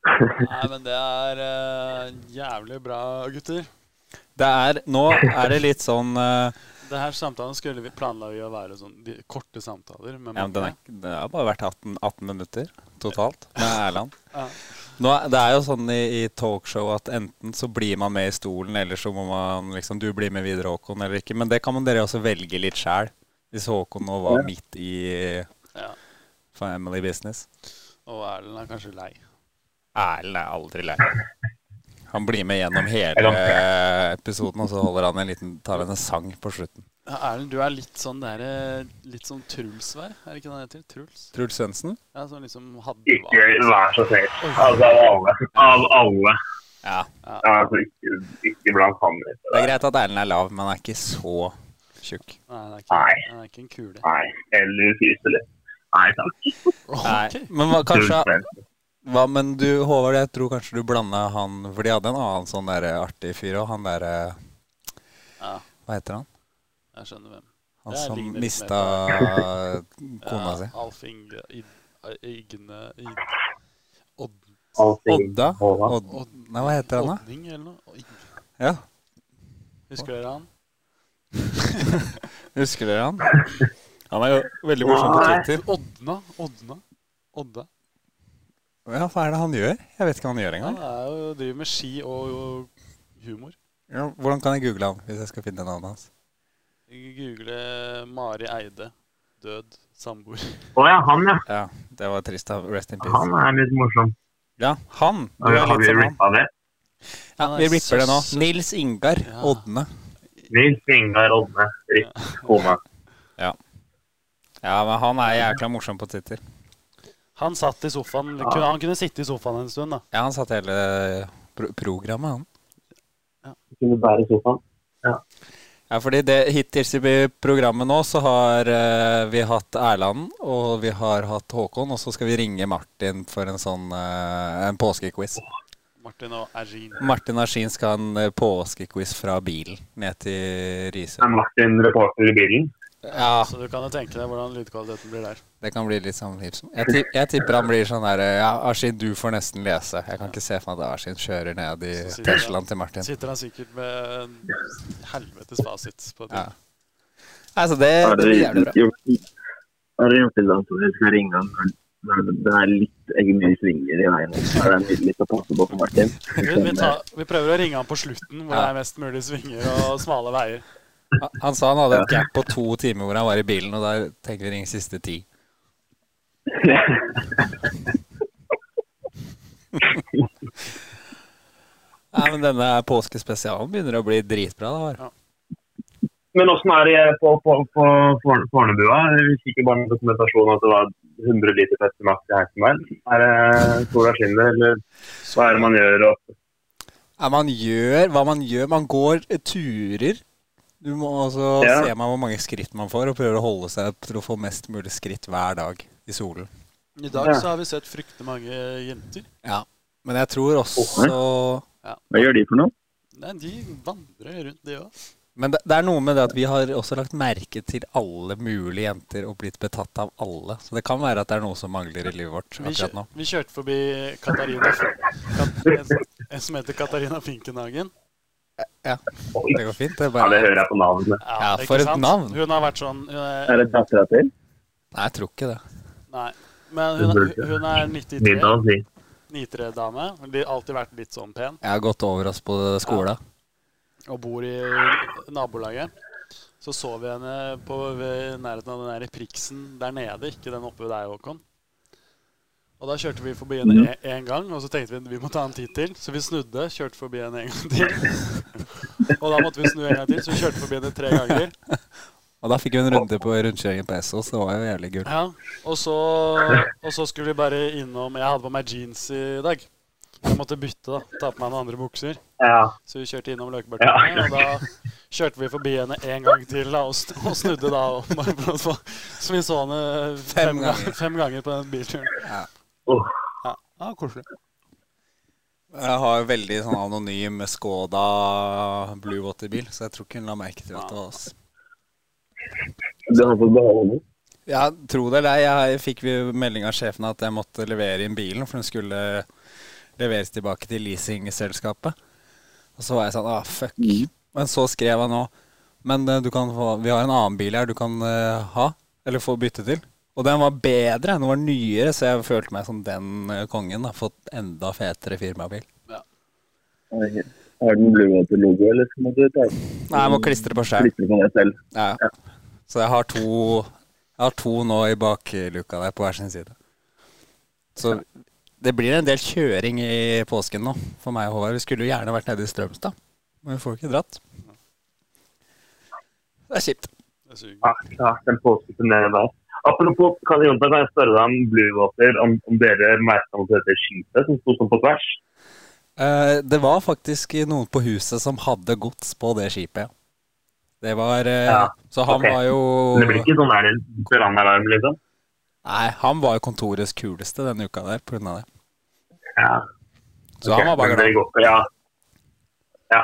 Speaker 2: Nei, men det er eh, jævlig bra, gutter.
Speaker 3: Det er, nå er det litt sånn eh,
Speaker 2: Det her samtalen skulle vi planla å være sånn de, korte samtaler med
Speaker 3: ja, men den,
Speaker 2: mange.
Speaker 3: er, den har bare vært 18, 18 minutter totalt med Erland.
Speaker 2: Ja.
Speaker 3: Nå, er- det er jo sånn i, i talkshow at enten så blir man med i stolen, eller så må man liksom Du blir med videre, Håkon, eller ikke. Men det kan man dere også velge litt sjæl. Hvis Håkon nå var midt i eh,
Speaker 2: Ja.
Speaker 3: family business.
Speaker 2: Og Erlend er kanskje lei.
Speaker 3: Erlend er aldri lei. Han blir med gjennom
Speaker 1: Jeg
Speaker 3: hele
Speaker 1: kan
Speaker 3: episoden, og så holder han en liten, tar han en sang på slutten.
Speaker 2: Ja, Erlend, du er litt sånn der, eh, litt sånn Truls-vær, er det ikke det han heter? Truls?
Speaker 3: Truls Svendsen?
Speaker 2: Ja, sånn liksom hadde
Speaker 1: Ikke vær så snill.
Speaker 2: Oi.
Speaker 1: Altså, av alle. Av alle.
Speaker 3: Ja.
Speaker 1: Altså, ikke, ikke blant andre.
Speaker 3: Det er greit at Erlend er lav, men han er ikke så tjukk.
Speaker 2: Nei, det er ikke,
Speaker 1: Nei.
Speaker 2: han er ikke en kule.
Speaker 1: Nei. Eller fyselig. Nei takk.
Speaker 3: Nei, men hva, kanskje hva, Men du, Håvard, jeg tror kanskje du blanda han For de hadde en annen sånn der artig fyr òg. Han derre
Speaker 2: Ja,
Speaker 3: Hva heter han?
Speaker 2: jeg skjønner hvem.
Speaker 3: Han
Speaker 2: Det
Speaker 3: som
Speaker 2: ligner litt mer
Speaker 3: mista kona si.
Speaker 2: Eh, Alf Inge Id- Igne Id- Odd,
Speaker 1: Allting.
Speaker 3: Odda?
Speaker 1: Håvard.
Speaker 3: Odd, nei, hva heter han, da?
Speaker 2: Oddning eller noe? Oi,
Speaker 3: Ja,
Speaker 2: Husker dere han?
Speaker 3: Husker dere han? Han er jo veldig morsom på
Speaker 1: Nei.
Speaker 3: Twitter.
Speaker 2: Odna? Odna? Odda?
Speaker 3: Ja, hva er det han gjør? Jeg vet ikke hva han gjør engang.
Speaker 2: Han er jo, driver med ski og, og humor.
Speaker 3: Ja, hvordan kan jeg google han hvis jeg skal finne navnet hans?
Speaker 2: Google eh, Mari Eide. Død samboer.
Speaker 1: Å ja, han ja.
Speaker 3: Ja, det var trist. da. Rest in
Speaker 1: Han
Speaker 3: peace.
Speaker 1: er litt morsom.
Speaker 3: Ja, han! Du er
Speaker 1: Har
Speaker 3: litt
Speaker 1: vi
Speaker 3: som han.
Speaker 1: rippa det?
Speaker 3: Ja,
Speaker 2: Han er
Speaker 3: vi ripper det nå.
Speaker 2: så-
Speaker 3: Nils Ingar
Speaker 2: Ja.
Speaker 3: Odne.
Speaker 1: Nils Ingar Odne. Ripp kona.
Speaker 3: Ja, men han er jækla morsom på Twitter.
Speaker 2: Han satt i sofaen. Kunne, han kunne sitte i sofaen en stund, da.
Speaker 3: Ja, han satt hele eh, pro programmet, han.
Speaker 1: Kunne bære sofaen.
Speaker 3: Ja, fordi det, hittil i programmet nå så har eh, vi hatt Erland, og vi har hatt Håkon, og så skal vi ringe Martin for en sånn eh, en påskequiz.
Speaker 2: Martin og Ergin.
Speaker 3: Martin Askin skal ha en eh, påskequiz fra bilen ned til Risør.
Speaker 1: Er Martin reporter i bilen?
Speaker 3: Ja,
Speaker 2: Så du kan jo tenke deg hvordan lydkvaliteten blir der.
Speaker 3: det kan bli litt sånn hips. Jeg, ti- jeg tipper han blir sånn der Ja, Ashin, du får nesten lese. Jeg kan ikke se for meg at Ashin kjører ned i
Speaker 2: Så sitter han-
Speaker 3: Teslaen til Martin.
Speaker 2: Sitter han sikkert med en helvetes fasit på det.
Speaker 3: Ja. Nei, så det,
Speaker 6: Har
Speaker 3: det
Speaker 6: dere
Speaker 3: blir jævlig bra.
Speaker 6: gjort- har dere gjort det da, så dere skal ringe han når- når det er litt eh, mye svinger i veien? Så er det nydelig å passe på for Martin.
Speaker 2: Gud, vi, tar, vi prøver å ringe han på slutten, hvor det
Speaker 3: Ja.
Speaker 2: er mest mulig svinger og smale veier.
Speaker 3: Han- Han sa han hadde et gap på to timer hvor han var i bilen, og da tenker vi ringe siste ti. Nei, men denne påskespesialen begynner å bli dritbra. da, var.
Speaker 1: Men åssen er det på, på, på Forne- Fornebua? Vi fikk jo bare en dokumentasjon at det var 100 liter festimax i heisen der. Er det sola skinner, eller hva er det man gjør? Og,
Speaker 3: Ja, man gjør hva man gjør. Man går eh, turer. Du må også
Speaker 1: Ja.
Speaker 3: se meg hvor mange skritt man får, og prøver å holde seg til å få mest mulig skritt hver dag i solen.
Speaker 2: I dag så har vi sett fryktelig mange jenter.
Speaker 3: Ja. Men jeg tror også
Speaker 6: Hva gjør de for noe?
Speaker 2: Nei, de vandrer rundt, de òg.
Speaker 3: Men det, det er noe med det at vi har også lagt merke til alle mulige jenter og blitt betatt av alle. Så det kan være at det er noe som mangler i livet vårt
Speaker 2: Vi,
Speaker 3: akkurat
Speaker 2: kjø-
Speaker 3: nå.
Speaker 2: vi kjørte forbi Katarina Kat, en, som- en som heter Katarina Finkenhagen.
Speaker 3: Det går fint. Det er
Speaker 1: ja, det
Speaker 3: bare
Speaker 1: hører jeg på navnet.
Speaker 3: Ja,
Speaker 2: ikke
Speaker 3: for et
Speaker 2: sant?
Speaker 3: navn.
Speaker 2: Hun har vært sånn eh,
Speaker 6: Er det dattera til?
Speaker 3: Nei, jeg tror ikke det.
Speaker 2: Nei. Men hun, hun er 93,
Speaker 1: Middag, si.
Speaker 2: 93-dame. Har alltid vært litt sånn pen.
Speaker 3: Jeg har gått over oss på skolen.
Speaker 2: og bor i nabolaget. Så så vi henne på, ved nærheten av den der priksen der nede, ikke den oppe ved deg, Håkon. Og da kjørte vi forbi henne e- en gang, og så tenkte vi vi må ta en titt til. Så vi snudde, kjørte forbi henne en gang til. Og da måtte vi snu en gang til, så vi kjørte forbi henne tre ganger.
Speaker 3: Og da fikk vi en runde på rundkjøringen på Essos. Det var jo jævlig gull.
Speaker 2: Ja, og så, og så skulle vi bare innom Jeg hadde på meg jeans i dag. Jeg måtte bytte, da. Ta på meg noen andre bukser.
Speaker 1: Ja.
Speaker 2: Så vi kjørte innom Løkebergtunet,
Speaker 1: Ja.
Speaker 2: og da kjørte vi forbi henne en gang til da, og, sn og snudde da. Og bare for å få- så vi så henne fem,
Speaker 3: Fem
Speaker 2: ga-
Speaker 3: ganger.
Speaker 2: fem ganger på den bilturen.
Speaker 1: Åh,
Speaker 2: Ja,
Speaker 3: Ah,
Speaker 2: ja koselig.
Speaker 3: Jeg har jo veldig sånn anonym Skoda Blue Water-bil, så jeg tror ikke hun la merke til at det var oss.
Speaker 6: Du har fått beholde den.
Speaker 3: Ja, tro det eller ei, jeg fikk vi melding av sjefen at jeg måtte levere inn bilen, for den skulle leveres tilbake til leasingselskapet. Og så var jeg sånn ah, fuck. Men så skrev han nå Men eh, du kan få, vi har en annen bil her du kan eh, ha, eller få bytte til. Og den var bedre, den var nyere, så jeg følte meg som den eh, kongen. Har fått enda fetere firmabil.
Speaker 6: Oi. Har den Blue Water-logo, eller så må du ta
Speaker 3: Nei, jeg må klistre på skjerm.
Speaker 6: klippe på deg selv?
Speaker 3: Ja. Så jeg har to Jeg har to nå i bakluka der på hver sin side. Så det blir en del kjøring i påsken nå for meg og Håvard. Vi skulle jo gjerne vært nede i Strømstad, men vi får ikke dratt. Det er kjipt.
Speaker 2: Det suger.
Speaker 1: ja, ja, den påskutten nede der. Apropos, kan, Jonta, kan jeg spørre deg om Blue Water, om, om dere merket noe til dette skipet som sto sånn på tvers?
Speaker 3: Eh, det var faktisk noen på huset som hadde gods på det skipet. ja. Det var eh,
Speaker 1: Ja,
Speaker 3: Så han
Speaker 1: ok.
Speaker 3: var jo
Speaker 1: Det blir ikke sånn der en brannalarm, liksom?
Speaker 3: Nei, han var jo kontorets kuleste denne uka der på grunn av det.
Speaker 1: Ja.
Speaker 3: Så han var bare glad.
Speaker 1: glad. Ja. ja.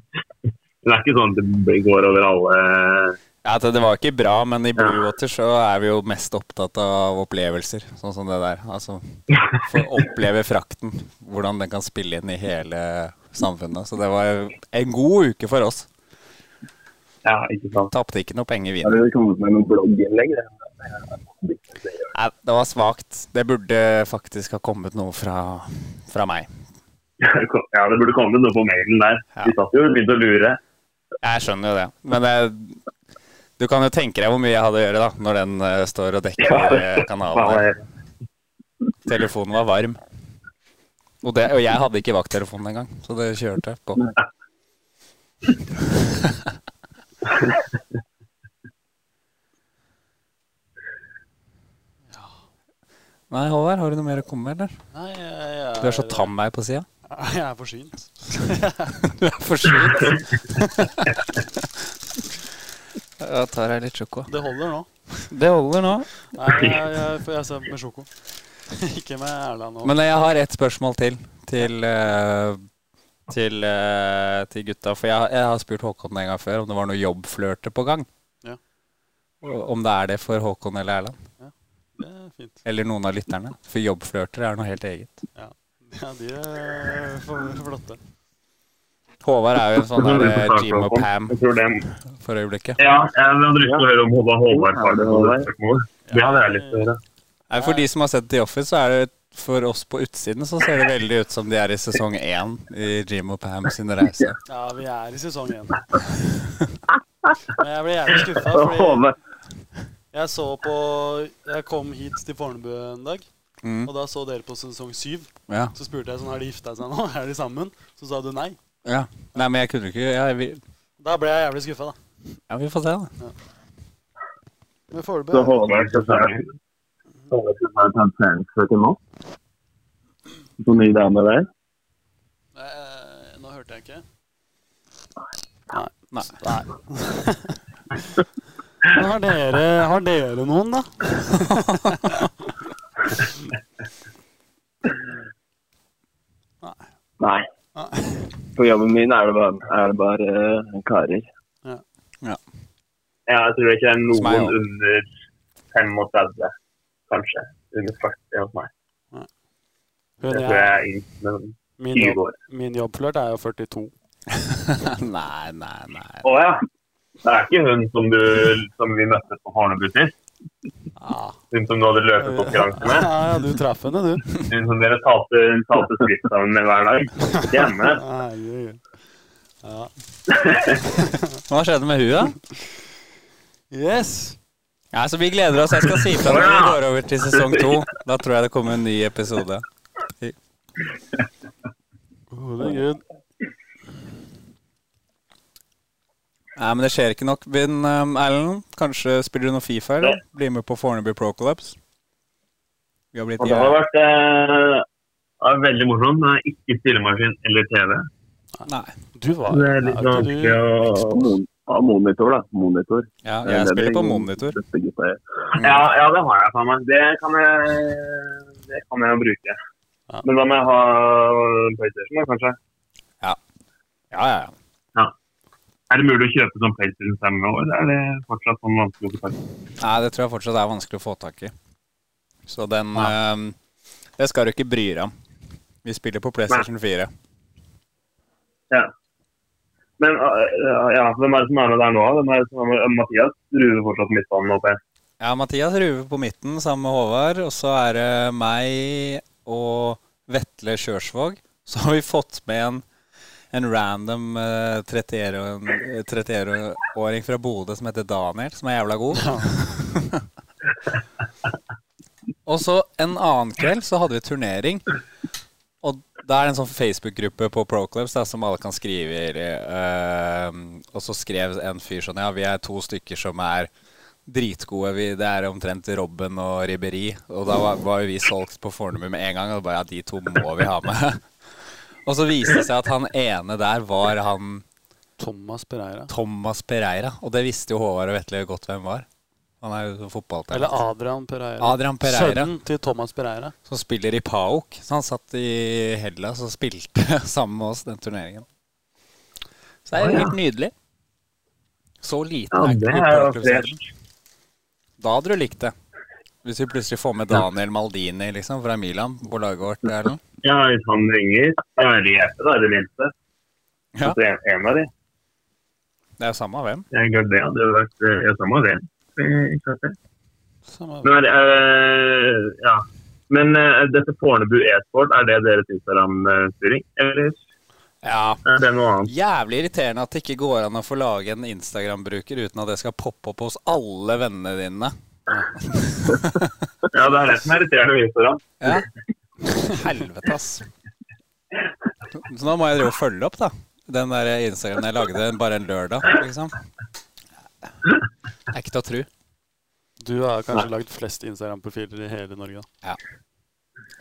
Speaker 1: Det er ikke sånn at det går over alle eh,
Speaker 3: Ja, altså, det, det var ikke bra, men i Blue Water så er vi jo mest opptatt av opplevelser, sånn som det der. Altså, for å oppleve frakten, hvordan den kan spille inn i hele samfunnet. Så det var en god uke for oss.
Speaker 1: Ja, ikke sant.
Speaker 3: Tapte ikke noe penger vi.
Speaker 6: Har dere kommet med noen blogginnlegg? dere?
Speaker 3: Nei, det var svakt. Det burde faktisk ha kommet noe fra, fra meg.
Speaker 1: Ja, det burde komme noe på mailen der.
Speaker 3: Ja.
Speaker 1: Vi satt jo og begynte å lure.
Speaker 3: Jeg skjønner jo det, men det, du kan jo tenke deg hvor mye jeg hadde å gjøre da, når den eh, står og dekker eh, kanalen. der.
Speaker 1: Faen,
Speaker 3: Telefonen var varm. Og, det, og jeg hadde ikke vakttelefonen engang, så det kjørte på. Nei, Håvard, har du noe mer å komme med, eller?
Speaker 2: Nei, jeg, jeg,
Speaker 3: Du er så tam meg på sida.
Speaker 2: Jeg er forsynt.
Speaker 3: Du er for sjuk. Da tar jeg litt sjoko.
Speaker 2: Det holder nå.
Speaker 3: Det holder nå.
Speaker 2: Nei, jeg, jeg, for jeg ser med sjoko. Ikke med Erland nå.
Speaker 3: Men jeg har ett spørsmål til til, eh, til, eh, til gutta. For jeg, jeg har spurt Håkon en gang før om det var noe jobbflørte på gang.
Speaker 2: Ja.
Speaker 3: Om det er det for Håkon eller Erland.
Speaker 2: Det er fint.
Speaker 3: Eller noen av lytterne. For jobbflørter er noe helt eget.
Speaker 2: Ja, de er for- flotte.
Speaker 3: Håvard er jo en sånn
Speaker 1: Jeg
Speaker 3: der
Speaker 1: tror vi får
Speaker 3: eh,
Speaker 1: snakke
Speaker 3: Jim og
Speaker 1: om-
Speaker 3: Pam
Speaker 1: Jeg tror det
Speaker 3: for øyeblikket.
Speaker 1: Ja, jeg hadde lyst til å høre om Håvard Håvard.
Speaker 6: Ja, det er Håvard.
Speaker 1: faktisk. Det hadde jeg lyst til å høre.
Speaker 3: Nei, For de som har sett The Office, så er det for oss på utsiden så ser det veldig ut som de er i sesong én i Jim og Pam sin reise.
Speaker 2: Ja, vi er i sesong én. Men jeg ble jævlig skuffa, fordi
Speaker 6: Håvard.
Speaker 2: jeg så på Jeg kom hit til Fornebu en dag,
Speaker 3: Mm.
Speaker 2: og da så dere på sesong syv.
Speaker 3: Ja.
Speaker 2: Så spurte jeg sånn, har de gifta seg nå? Er de sammen? Så sa du nei.
Speaker 3: ja. Nei, men jeg kunne ikke Ja, vi,
Speaker 2: Da ble jeg jævlig skuffa, da.
Speaker 3: ja, vi får se, da.
Speaker 2: Men
Speaker 6: Så
Speaker 2: foreløpig
Speaker 6: Håvard skal ta- Håvard skal ta transferense til Moss? Så ny dame der?
Speaker 2: eh, Nå hørte jeg ikke.
Speaker 3: Nei.
Speaker 2: Men har dere, har dere noen, da?
Speaker 6: Nei. På jobben min er det bare, er det bare eh, karer.
Speaker 1: Ja, jeg tror ikke det er
Speaker 3: Hos meg
Speaker 1: noen
Speaker 3: også.
Speaker 1: under 35, kanskje. Under 40 hos meg.
Speaker 2: Hun
Speaker 1: Jeg tror jeg
Speaker 2: jeg,
Speaker 1: er yngst, men
Speaker 2: min,
Speaker 1: 20
Speaker 2: jobb,
Speaker 1: år.
Speaker 2: min jobbflørt er jo 42.
Speaker 3: nei, nei, nei.
Speaker 1: Å ja. Det er ikke hun som, du, som vi møtte på Fornebu sist?
Speaker 2: Ja,
Speaker 1: Hun som du hadde løpekonkurranse med?
Speaker 2: ja, ja du traff henne, du.
Speaker 1: Hun som dere talte, talte skritt sammen med hver dag? Hjemme?
Speaker 2: Herregud. Ja.
Speaker 3: Hva skjedde med huet?
Speaker 2: Yes!
Speaker 3: Ja, så Vi gleder oss. Jeg skal si fra når vi går over til sesong to. Da tror jeg det kommer en ny episode.
Speaker 2: Herregud.
Speaker 3: Nei, men det skjer ikke nok. Vinn, um, Erlend. Kanskje spiller du noe Fifa, eller? Bli med på Fornebu Pro Collapse. Vi har blitt
Speaker 1: Og det har
Speaker 3: jævla
Speaker 1: vært eh, det er veldig morsomt. men det er Ikke spillemaskin eller TV.
Speaker 3: Nei.
Speaker 2: Du var
Speaker 1: Det er litt
Speaker 2: er ikke
Speaker 1: vanskelig
Speaker 2: du-
Speaker 1: å
Speaker 6: Mon- Ja, monitor, da. Monitor.
Speaker 3: Ja,
Speaker 6: Det er
Speaker 3: jeg
Speaker 6: det
Speaker 3: spiller på
Speaker 6: de
Speaker 3: monitor.
Speaker 6: beste gutta gjør.
Speaker 1: Ja, ja, det har jeg faen meg. Det kan jeg, det kan jeg jo bruke.
Speaker 2: Ja.
Speaker 1: Men da må jeg ha PlayStation, da, kanskje.
Speaker 3: Ja, ja, ja.
Speaker 1: Er det mulig å kjøpe sånn PlayStation 5 nå, eller er det fortsatt sånn vanskelig å få tak i?
Speaker 3: Nei, det tror jeg fortsatt er vanskelig å få tak i. Så den um, Det skal du ikke bry deg om. Vi spiller på PlayStation 4.
Speaker 1: Men øh, ja, hvem er det som er med der nå? Hvem er det som er med? Mathias ruver fortsatt midtbanen opp her.
Speaker 3: Ja, Mathias Ruve på midten sammen med Håvard. Og så er det meg og Vetle Kjørsvåg. Så har vi fått med en, en random eh, 31-åring 31 fra Bodø som heter Daniel, som er jævla god. og så en annen kveld så hadde vi turnering. Og det er en sånn Facebook-gruppe på Proclubs da, som alle kan skrive i. eh, og så skrev en fyr sånn Ja, vi er to stykker som er dritgode. Vi, det er omtrent Robben og Ribberi. Og da var, var jo vi solgt på Fornebu med en gang. Og bare ja, de to må vi ha med. og så viste det seg at han ene der var han
Speaker 2: Thomas Pereira.
Speaker 3: Thomas Pereira. Og det visste jo Håvard og Vetle godt hvem var. Han er jo
Speaker 2: Eller
Speaker 3: fotballtrener.
Speaker 2: Adrian Pereira.
Speaker 3: Adrian Pereira.
Speaker 2: Sønnen til Thomas Pereira.
Speaker 3: Som spiller i PAOK. Så han satt i Hellas og spilte sammen med oss den turneringen. Så det er jo helt nydelig. Så liten
Speaker 1: Ja,
Speaker 3: er ikke
Speaker 1: det er jo
Speaker 3: fotballklubbserien.
Speaker 1: fresh.
Speaker 3: Da hadde du likt det. Hvis vi plutselig får med Daniel Maldini liksom, fra Milan på laget vårt. Erlend.
Speaker 1: Ja, hvis han ringer, ja, eller hjelper, da er det minste.
Speaker 3: Ja.
Speaker 1: Altså, en, en av de.
Speaker 3: Det er jo samme hvem.
Speaker 1: Jeg glemte det. Det hadde vært eh, ja, samme det. Eh, ikke sant det.
Speaker 2: Samme-
Speaker 1: Men, eh, ja. Men eh, dette Fornebu e-sport, er det deres Instagram-styring? Eller
Speaker 3: Ja,
Speaker 1: er det noe annet?
Speaker 3: Jævlig irriterende at det ikke går an å få lage en Instagram-bruker uten at det skal poppe opp hos alle vennene dine.
Speaker 1: Ja, det er det som er irriterende med Instagram.
Speaker 3: Ja. Helvete, ass. Så nå må jeg drive og følge opp, da. Den der Instagramen jeg lagde en- bare en lørdag, liksom. Det er ikke til å tro.
Speaker 2: Du har kanskje lagd flest Instagram-profiler i hele Norge. da.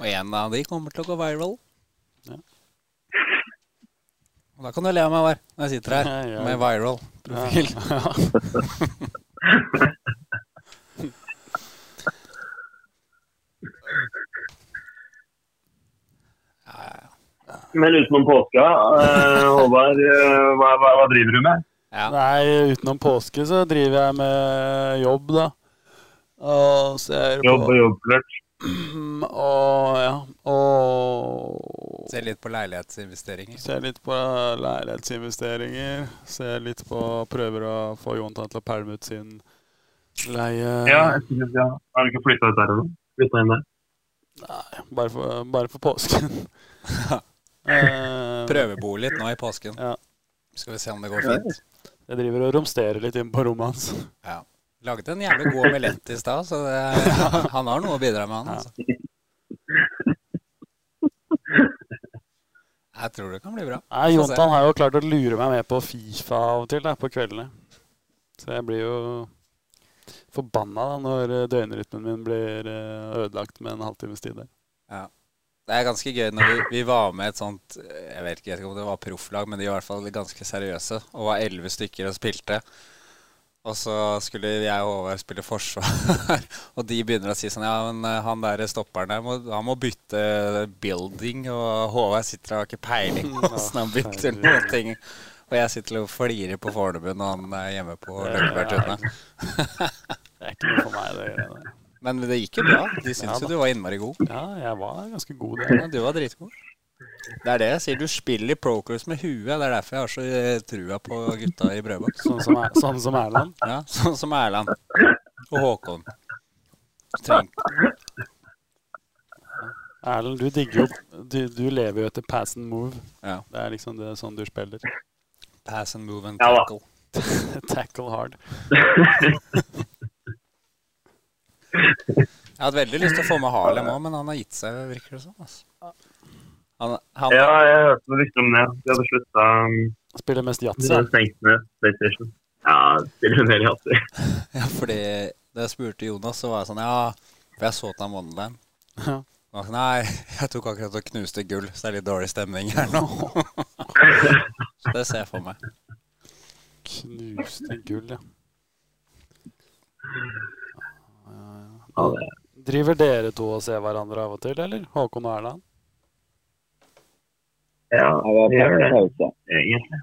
Speaker 3: Og en av de kommer til å gå viral.
Speaker 2: Ja.
Speaker 3: Og da kan du le av meg hver når jeg sitter her
Speaker 2: Ja, ja.
Speaker 3: med viral profil.
Speaker 1: Men utenom påska, eh, Håvard, eh, hva, hva, hva driver du med?
Speaker 3: Ja.
Speaker 2: Nei, utenom påske så driver jeg med jobb, da. Og ser på
Speaker 1: Jobb og jobbflørt.
Speaker 2: Og ja. Og
Speaker 3: Se litt på leilighetsinvesteringer.
Speaker 2: ser litt på leilighetsinvesteringer. Ser litt på Prøver å få Jontan til å pælme ut sin leie.
Speaker 1: Ja, jeg synes, ja. Har du ikke flytta ut der ennå? Flyttet inn der.
Speaker 2: Bare for, bare for påsken. Eh,
Speaker 3: Prøvebo litt nå i påsken.
Speaker 2: Ja.
Speaker 3: Skal vi se om det går fint.
Speaker 2: Jeg driver og romsterer litt inn på rommet hans.
Speaker 3: Ja. Laget en jævlig god omelett i stad, så det, han har noe å bidra med, han. Altså. Jeg tror det kan bli bra.
Speaker 2: Nei,
Speaker 3: Få se.
Speaker 2: Jontan har jo klart å lure meg med på Fifa av og til da, på kveldene. Så jeg blir jo forbanna da, når eh, døgnrytmen min blir eh, ødelagt med en halvtimes tid. der.
Speaker 3: Det er ganske gøy når vi, vi var med et sånt eh, Jeg vet ikke jeg vet ikke om det var profflag, men de var i hvert fall ganske seriøse. Og var elleve stykker og spilte. Og så skulle jeg og Håvard spille forsvar, og de begynner å si sånn Ja, men eh, han der stopperen der, må, han må bytte building, og Håvard sitter og har ikke peiling på åssen han bytter noen ting. Og jeg sitter og flirer på Fornebu når han er hjemme på Løkkebergtunet.
Speaker 2: Det er ikke noe for meg, det greiene der.
Speaker 3: Men det gikk jo bra. De
Speaker 2: Ja
Speaker 3: syntes
Speaker 2: da.
Speaker 3: jo du var innmari god.
Speaker 2: Ja, jeg var ganske god der.
Speaker 3: Ja, du var dritgod. Det er det jeg sier. Du spiller Procurs med huet. Det er derfor jeg har så eh, trua på gutta i Brødboks.
Speaker 2: Sånn som, er, sånn som Erland.
Speaker 3: Ja, sånn som Erland og Håkon. Treng.
Speaker 2: Erlend, du digger jo Du, du lever jo etter pass and move.
Speaker 3: Ja.
Speaker 2: Det er liksom det, sånn du spiller.
Speaker 3: Pass and move and
Speaker 1: Ja da.
Speaker 3: tackle.
Speaker 2: Tackle hard.
Speaker 3: Jeg hadde veldig lyst til å få med Harlem òg, men han har gitt seg, virker det som. Altså. Han, han,
Speaker 1: Ja, jeg hørte rykter om det. De hadde slutta
Speaker 2: Spiller mest
Speaker 1: De
Speaker 2: yatzy.
Speaker 1: hadde stengt ned PlayStation. Ja, spiller en del jatter.
Speaker 3: ja, fordi da jeg spurte Jonas, så var jeg sånn Ja, for jeg så til han Wonderland.
Speaker 2: Ja.
Speaker 3: Og han sa, Nei, jeg tok akkurat og knuste gull, så det er litt dårlig stemning her nå. Så det ser jeg for meg.
Speaker 2: Knuste gull, ja.
Speaker 1: Ja, det-
Speaker 2: Driver dere to og ser hverandre av og til, eller? Håkon og Erland?
Speaker 1: ja,
Speaker 6: Ja,
Speaker 1: det
Speaker 6: det
Speaker 1: gjør
Speaker 6: er
Speaker 1: det
Speaker 6: pause.
Speaker 1: egentlig.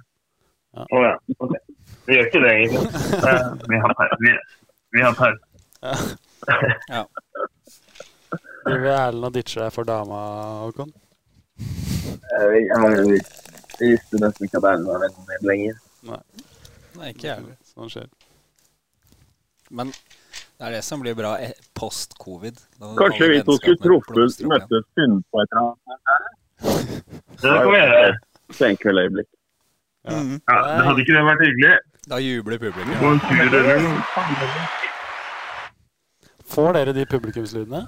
Speaker 2: Ja.
Speaker 1: Å ja. ok. Vi gjør ikke det, egentlig. Eh, Vi har pause. Vi, vi har pause.
Speaker 2: Driver Erlend og ditcher deg for dama, Håkon?
Speaker 6: Jeg- Jeg mangler litt. Jeg visste nesten ikke at Erlend var vennen min lenger.
Speaker 3: Nei, ikke jeg heller.
Speaker 2: Sånn skjer.
Speaker 3: Men det er det som blir bra eh, post covid. Da
Speaker 6: Kanskje
Speaker 3: alle
Speaker 6: vi to skulle
Speaker 3: vennskapene
Speaker 6: truffet,
Speaker 3: blomstrer opp igjen.
Speaker 6: møttes, funnet på et eller annet.
Speaker 1: Det kan vi gjøre.
Speaker 6: Senkveldøyeblikk.
Speaker 2: Ja.
Speaker 3: Mhm.
Speaker 1: Ja, det hadde ikke det vært hyggelig?
Speaker 3: Da jubler publikum.
Speaker 1: Gå en tur eller noe.
Speaker 2: Får dere de publikumslydene?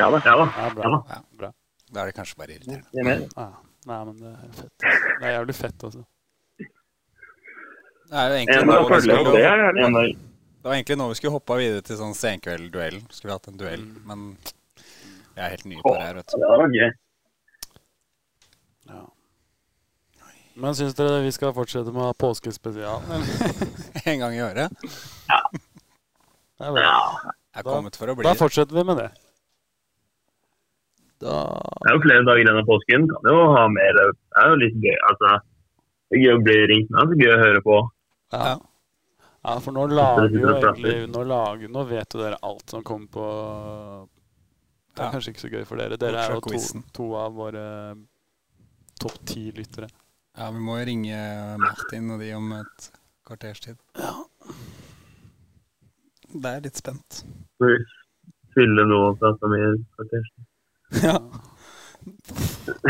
Speaker 6: Ja da.
Speaker 1: Ja da.
Speaker 2: Ja, bra.
Speaker 3: Ja.
Speaker 2: bra.
Speaker 3: Da er det kanskje bare irriterende.
Speaker 2: Ja. Nei, men det er fett. Det er jævlig fett, altså.
Speaker 3: Det, er jo
Speaker 1: En
Speaker 3: egentlig
Speaker 1: dag
Speaker 3: nå vi
Speaker 1: følger jeg på
Speaker 3: skulle,
Speaker 1: det her. er det en dag.
Speaker 3: det var egentlig nå vi skulle hoppa videre til sånn senkveldduell. Skulle vi hatt en duell,
Speaker 6: Mm.
Speaker 3: men jeg er helt ny på det her, vet du.
Speaker 1: Det var gøy.
Speaker 2: Men syns dere vi skal fortsette med å ha påskespesial? eller?
Speaker 3: En gang i året.
Speaker 2: Det er bra.
Speaker 3: Jeg er
Speaker 2: Da-
Speaker 3: kommet for å bli
Speaker 2: Da fortsetter vi med det. Da
Speaker 1: Det er jo flere dager igjen av påsken. Kan jo ha mer. Det er jo litt gøy. Altså, det er gøy å bli ringt med. Det er gøy å høre på.
Speaker 2: Ja.
Speaker 3: Ja.
Speaker 2: ja, for nå lager jo
Speaker 1: sitter og prater.
Speaker 2: egentlig Nå, lager, nå vet jo dere alt som kommer på Det er
Speaker 3: Ja.
Speaker 2: kanskje ikke så gøy for dere. Dere er jo to,
Speaker 3: Ultra-quizen.
Speaker 2: to av våre topp ti lyttere.
Speaker 3: Ja, vi må jo ringe Martin og de om et kvarters tid. Det er litt spent.
Speaker 1: Fylle noe og prate mer. faktisk.
Speaker 3: Ja.
Speaker 2: Vi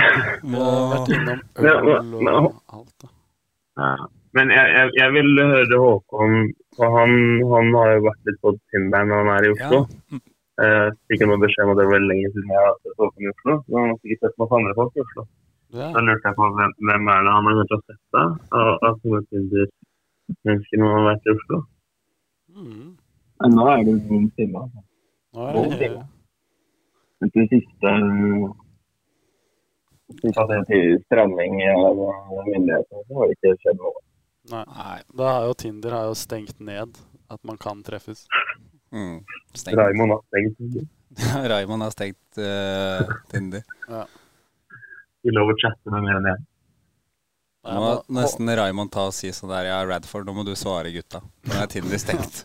Speaker 2: har vært innom
Speaker 1: Ja,
Speaker 2: øl
Speaker 1: men-
Speaker 2: og alt. Da.
Speaker 1: Ja. Men jeg, jeg, jeg vil høre Håkon. For han, han har jo vært litt på Tinder når han er i Oslo. Eh, fikk jeg noe beskjed om at det var veldig lenge siden jeg har sett Håkon i Oslo. Så han har sikkert sett masse andre folk i Oslo.
Speaker 2: Ja.
Speaker 1: Da lurte jeg på hvem, hvem er det han har kanskje sett da? Av av sånne Tinder-mennesker når han har vært i Oslo.
Speaker 2: Mm.
Speaker 6: Men nå er det bom stille. altså.
Speaker 2: Nå er det
Speaker 6: Etter det siste øh, siste til stramming av øh, myndighetene, så har det ikke skjedd noe.
Speaker 3: Nei.
Speaker 2: Da har jo Tinder har jo stengt ned at man kan treffes.
Speaker 3: Mm. Stengt.
Speaker 1: Raymond har stengt.
Speaker 3: Raymond har stengt eh, Tinder.
Speaker 1: De lover å chatte med mer enn jeg.
Speaker 2: Og jeg
Speaker 3: Nå
Speaker 2: må-
Speaker 3: må nesten Raymond ta og si sånn der Ja, Radford, nå må du svare gutta. Nå er Tinder stengt.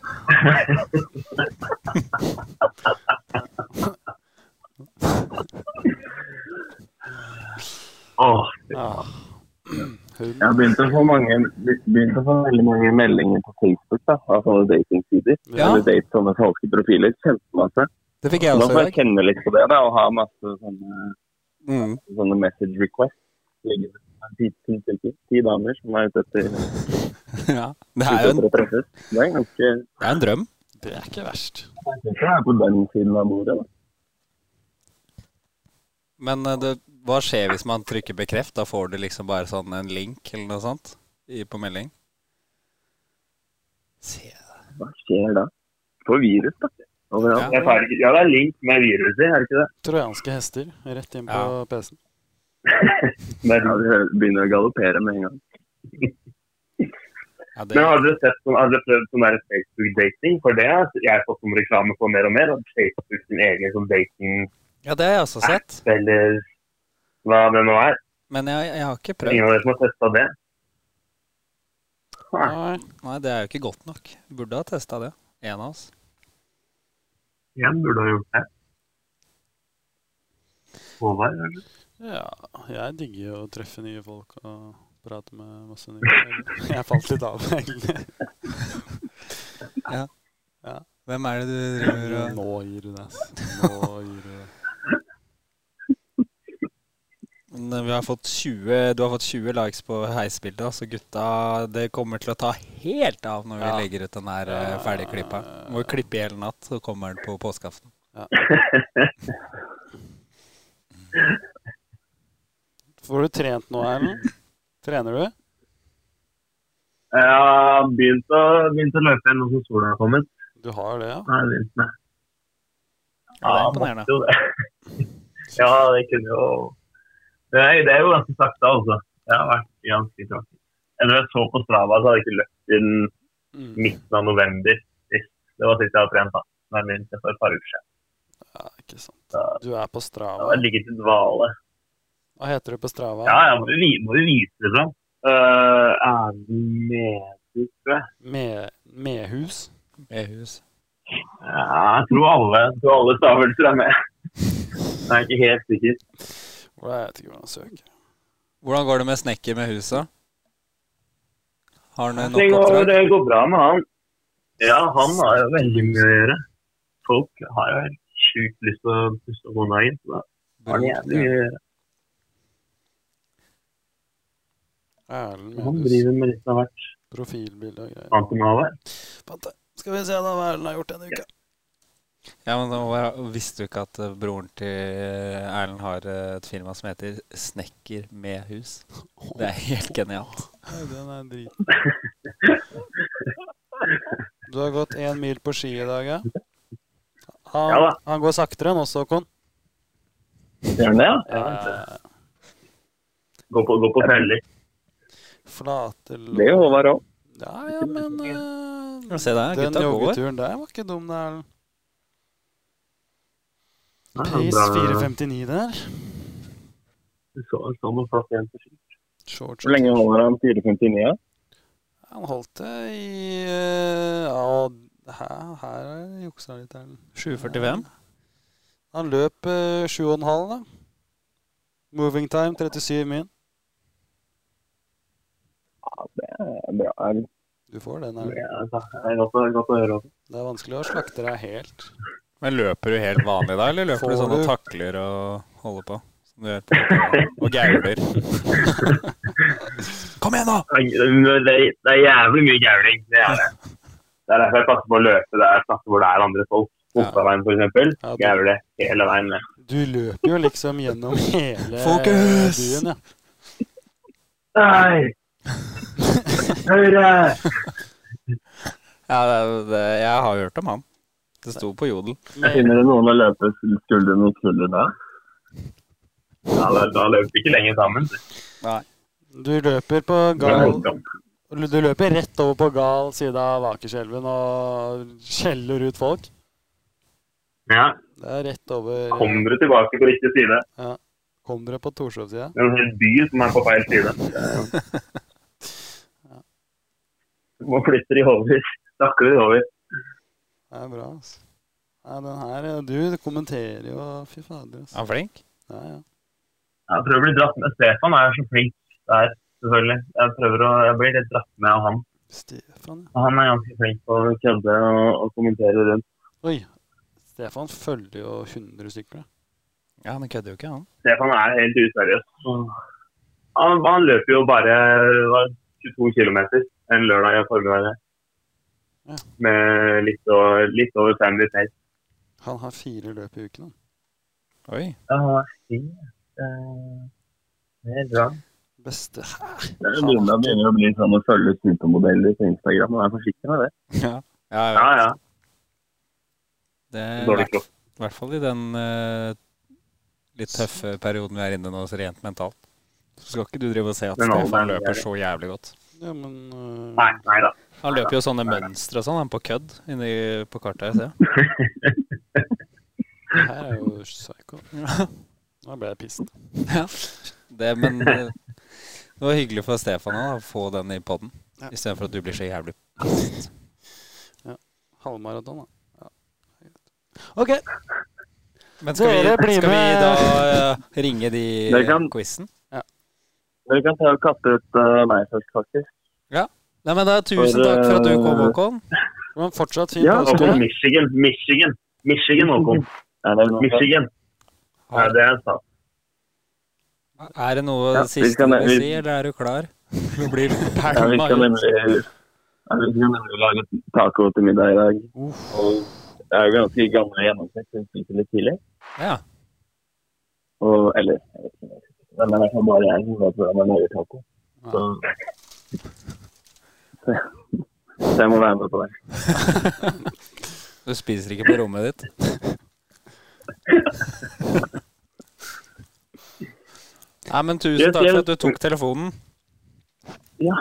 Speaker 1: Åh,
Speaker 2: Ja. Hun
Speaker 6: Jeg har begynt å få mange begynt å få veldig mange meldinger på Facebook da, av sånne datingsider.
Speaker 3: Ja.
Speaker 6: Eller date sånne falske profiler. Kjempemasse.
Speaker 3: Det fikk jeg
Speaker 6: Da
Speaker 3: også
Speaker 6: får
Speaker 3: i
Speaker 6: jeg
Speaker 3: dag.
Speaker 6: kjenne litt på det da, og ha masse sånne,
Speaker 3: Mm.
Speaker 6: sånne message requests. Ligger med ti- ti stykker, ti damer som er ute etter ute
Speaker 3: Ja. Det er jo en,
Speaker 6: etter å treffes. Det er ganske Jeg
Speaker 3: det er en drøm.
Speaker 2: Det er ikke verst.
Speaker 6: synes jeg er på den siden av bordet. da.
Speaker 3: Men eh, det, hva skjer hvis man trykker bekreft? Da får du liksom bare sånn en link eller noe sånt i, på melding? Se.
Speaker 6: Hva skjer da? Får virus, da. Overalt.
Speaker 1: jeg tar ikke, ja, det er link med viruset, er det ikke det?
Speaker 2: Trojanske hester rett inn på
Speaker 3: Ja.
Speaker 2: PC-en.
Speaker 1: Men,
Speaker 6: Ja, det begynner å galoppere med en gang.
Speaker 3: Ja, det,
Speaker 1: men har dere sett sånn, har dere prøvd sånn der Facebook-dating? For det har jeg fått som reklame for mer og mer. At Facebook sin egen sånn dating-app
Speaker 3: ja, det har jeg også sett.
Speaker 1: eller hva det nå er.
Speaker 3: Men jeg, jeg har ikke prøvd.
Speaker 1: Ingen av dere som har testa det? Nei.
Speaker 2: Nei,
Speaker 3: Nei, det er jo ikke godt nok. Burde ha testa det. En av oss.
Speaker 1: Jeg burde ha gjort det. Håvard, eller?
Speaker 2: Ja, jeg digger jo å treffe nye folk og prate med masse nye folk. Jeg falt litt av, egentlig.
Speaker 3: Hvem er det du driver og
Speaker 2: Nå gir du deg, ass. Nå gir du deg.
Speaker 3: Men eh, Vi har fått 20, du har fått 20 likes på heisbildet, så gutta Det kommer til å ta helt av når vi
Speaker 2: Ja.
Speaker 3: legger ut den her eh, ferdigklippa. Må jo klippe i hele natt, så kommer den på påskeaften.
Speaker 2: Får du trent nå, Erlend? Trener du?
Speaker 1: Jeg har begynt å, begynt å løpe igjen nå som sola har kommet.
Speaker 2: Du har det, ja?
Speaker 1: Nei, jeg begynte med.
Speaker 3: Ja, det er
Speaker 1: måtte
Speaker 3: imponerende.
Speaker 1: jo det. Ja, det kunne jo Nei, det er jo ganske sakte, altså. Det har vært ganske tråkig. Jeg tror jeg så på Strava, så hadde jeg ikke løpt siden
Speaker 2: Mm.
Speaker 1: midten av november sist. Det var sist jeg hadde trent, da. Det er minst for et par uker siden.
Speaker 2: ja ikke sant.
Speaker 1: Ja.
Speaker 2: Du er på
Speaker 1: Det
Speaker 2: Strava.
Speaker 1: har ligget i dvale.
Speaker 2: Hva heter du på
Speaker 1: Ja,
Speaker 2: Strava?
Speaker 1: jeg må jo vi- må jo vise liksom. det fram. Uh, er det Medhus, tror jeg?
Speaker 2: Me- Mehus?
Speaker 3: Behus.
Speaker 1: Ja, jeg tror alle, jeg tror alle stavelser er med. Jeg er ikke helt sikker.
Speaker 2: Hvor er- Jeg vet ikke hvordan jeg søker.
Speaker 3: Hvordan går det med snekker med huset? Har han
Speaker 1: Det
Speaker 3: Eh, nok
Speaker 1: går,
Speaker 3: oppdrag?
Speaker 1: det går bra med han. Ja, han har jo veldig mye å gjøre. Folk har jo helt sjukt lyst til å pusse opp hånda inn. så da har han jævlig mye å gjøre.
Speaker 2: Erlend
Speaker 1: Han
Speaker 2: Mehus.
Speaker 1: driver med litt av hvert.
Speaker 2: Profilbilde og greier.
Speaker 1: Han som har vært.
Speaker 2: Vent, Skal vi se da hva Erlend har gjort denne uka.
Speaker 3: Ja, men nå Visste du ikke at eh, broren til eh, Erlend har eh, et firma som heter Snekker med hus? Det er helt genialt.
Speaker 2: Nei, den er drit. Du har gått én mil på ski i dag, ja? Han,
Speaker 1: Ja da.
Speaker 2: han går saktere nå, Håkon.
Speaker 6: Gjerne, ja.
Speaker 2: Eh,
Speaker 1: Gå på, gå på feller.
Speaker 2: flate
Speaker 6: Det er jo Håvard òg.
Speaker 2: Ja, ja, men eh,
Speaker 3: Se der,
Speaker 2: den
Speaker 3: gutta går.
Speaker 2: joggeturen der var ikke dum, det, Erlend.
Speaker 1: Ja,
Speaker 2: Pace
Speaker 1: bra.
Speaker 2: 4.59 der.
Speaker 1: Du så, så noe flott igjen på ski.
Speaker 2: Short,
Speaker 6: Hvor lenge holder han 459? Ja?
Speaker 2: Han holdt det i eh, Ja, her, her er det juksa litt, Erlend.
Speaker 3: 7.45.
Speaker 2: Han løp eh, 7,5, da. Moving time 37 min.
Speaker 6: Ja, det er bra. Erlend.
Speaker 2: Du får den, Erlend.
Speaker 1: Ja, altså, Det er godt, å- godt å høre. også.
Speaker 2: Det er vanskelig å slakte deg helt.
Speaker 3: Men løper du helt vanlig da, eller løper du
Speaker 2: Får
Speaker 3: sånn og
Speaker 2: du-
Speaker 3: takler og holder på? Som du gjør på fotball, og gauler. Kom igjen, da!
Speaker 1: Men Det, er- det er jævlig mye gauling. Det er det. Det er derfor jeg passer på å løpe der jeg passer hvor det er andre folk. Oppdalveien f.eks.
Speaker 2: Ja, det-
Speaker 1: Gaule hele veien ned.
Speaker 2: Du løper jo liksom gjennom hele
Speaker 3: Fokus!
Speaker 2: byen, ja.
Speaker 1: Nei! Høyre!
Speaker 3: Ja, det, er- det, jeg har hørt om han. Det sto på Jodel.
Speaker 2: Men,
Speaker 6: Finner du noen å løpe skulder mot skulder da?
Speaker 1: Ja, da, da løper vi ikke lenger sammen.
Speaker 2: du løper på gal Du løper rett over på gal side av Akerselven og skjeller ut folk.
Speaker 1: Ja,
Speaker 2: Det er rett over
Speaker 1: kom dere tilbake på riktig side.
Speaker 2: Kom dere på Torshov-sida?
Speaker 1: Det er en hel by som er på feil side. Må flytte de over. Snakker de over.
Speaker 2: Det er bra, altså. Nei, den her, eh, du kommenterer jo, fy fader. Altså.
Speaker 3: Han er flink.
Speaker 2: Ja, ja.
Speaker 1: Jeg prøver å bli dratt med. Stefan er så flink der, selvfølgelig. Jeg prøver å, jeg blir litt dratt med av han.
Speaker 2: Stefan, ja.
Speaker 1: Han er ganske flink på å kødde og, og kommentere rundt.
Speaker 2: Oi, Stefan følger jo 100 stykker, da.
Speaker 3: Ja, Han kødder jo ikke, han.
Speaker 1: Stefan er helt useriøs. Han, han løper jo bare hva, 22 km en lørdag i formiddag.
Speaker 2: Ja.
Speaker 1: Med litt, over- litt over 50 pace.
Speaker 2: Han har fire løp i uken, han.
Speaker 3: Oi.
Speaker 1: Ja, han er fin. Eh, Det er bra.
Speaker 2: Beste
Speaker 6: Lunda begynner å bli sånn å følge supermodeller på Instagram. og er forsiktig med det.
Speaker 3: Ja, ja,
Speaker 1: Ja, ja.
Speaker 3: Det
Speaker 1: Dårlig
Speaker 3: er
Speaker 1: klokke.
Speaker 3: i hvert fall i den eh, litt tøffe perioden vi er inne i nå, så rent mentalt. Så skal ikke du drive og se at
Speaker 1: Men alderen
Speaker 3: Stefan
Speaker 1: er
Speaker 3: løper
Speaker 1: det.
Speaker 3: så jævlig godt.
Speaker 2: Ja, men øh,
Speaker 1: Nei, nei da.
Speaker 3: Han løper jo sånne mønstre og sånn, han på kødd inni på kartet. Jeg ser.
Speaker 2: det her er jo psycho. Nå ble jeg pisset.
Speaker 3: Ja. Det, men eh, det var hyggelig for Stefan også, å få den i poden,
Speaker 2: Ja.
Speaker 3: istedenfor at du blir så jævlig
Speaker 2: Halvmaraton, da. Ja. OK.
Speaker 3: Men skal vi,
Speaker 2: Dere blir
Speaker 3: skal vi
Speaker 2: med.
Speaker 3: da eh, ringe de
Speaker 6: Dere kan-
Speaker 3: quizen?
Speaker 6: Dere kan ta og kaste ut eh, meg først, faktisk.
Speaker 3: Nei, men da tusen
Speaker 6: For,
Speaker 3: takk for at du kom,
Speaker 6: eh,
Speaker 3: Håkon.
Speaker 2: Men fortsatt fin
Speaker 6: Ja,
Speaker 1: Og
Speaker 2: påske.
Speaker 1: på Michigan. Michigan. Michigan, Håkon.
Speaker 6: Er det noe?
Speaker 1: Michigan. Nei, det er sant.
Speaker 3: Er det noe
Speaker 6: Ja, vi
Speaker 3: siste
Speaker 6: skal
Speaker 3: du
Speaker 6: ne-
Speaker 3: vil
Speaker 6: vi-
Speaker 3: si, eller er du klar? Du blir
Speaker 6: Ja, vi
Speaker 3: pælma
Speaker 6: skal
Speaker 3: ut.
Speaker 6: nemlig, ja, vi skal nemlig lage taco til middag i dag. Og jeg er jo ganske gammel i gjennomsnitt, så vi spiser litt tidlig.
Speaker 3: Ja.
Speaker 6: Og, eller, jeg vet ikke. Men det er i hvert fall bare jeg som vet hvordan man lager taco. Så, så jeg må være med på det.
Speaker 3: Du spiser ikke på rommet ditt. Nei, men tusen
Speaker 6: Yes,
Speaker 3: takk
Speaker 6: yes.
Speaker 3: for at du tok telefonen.
Speaker 6: Ja,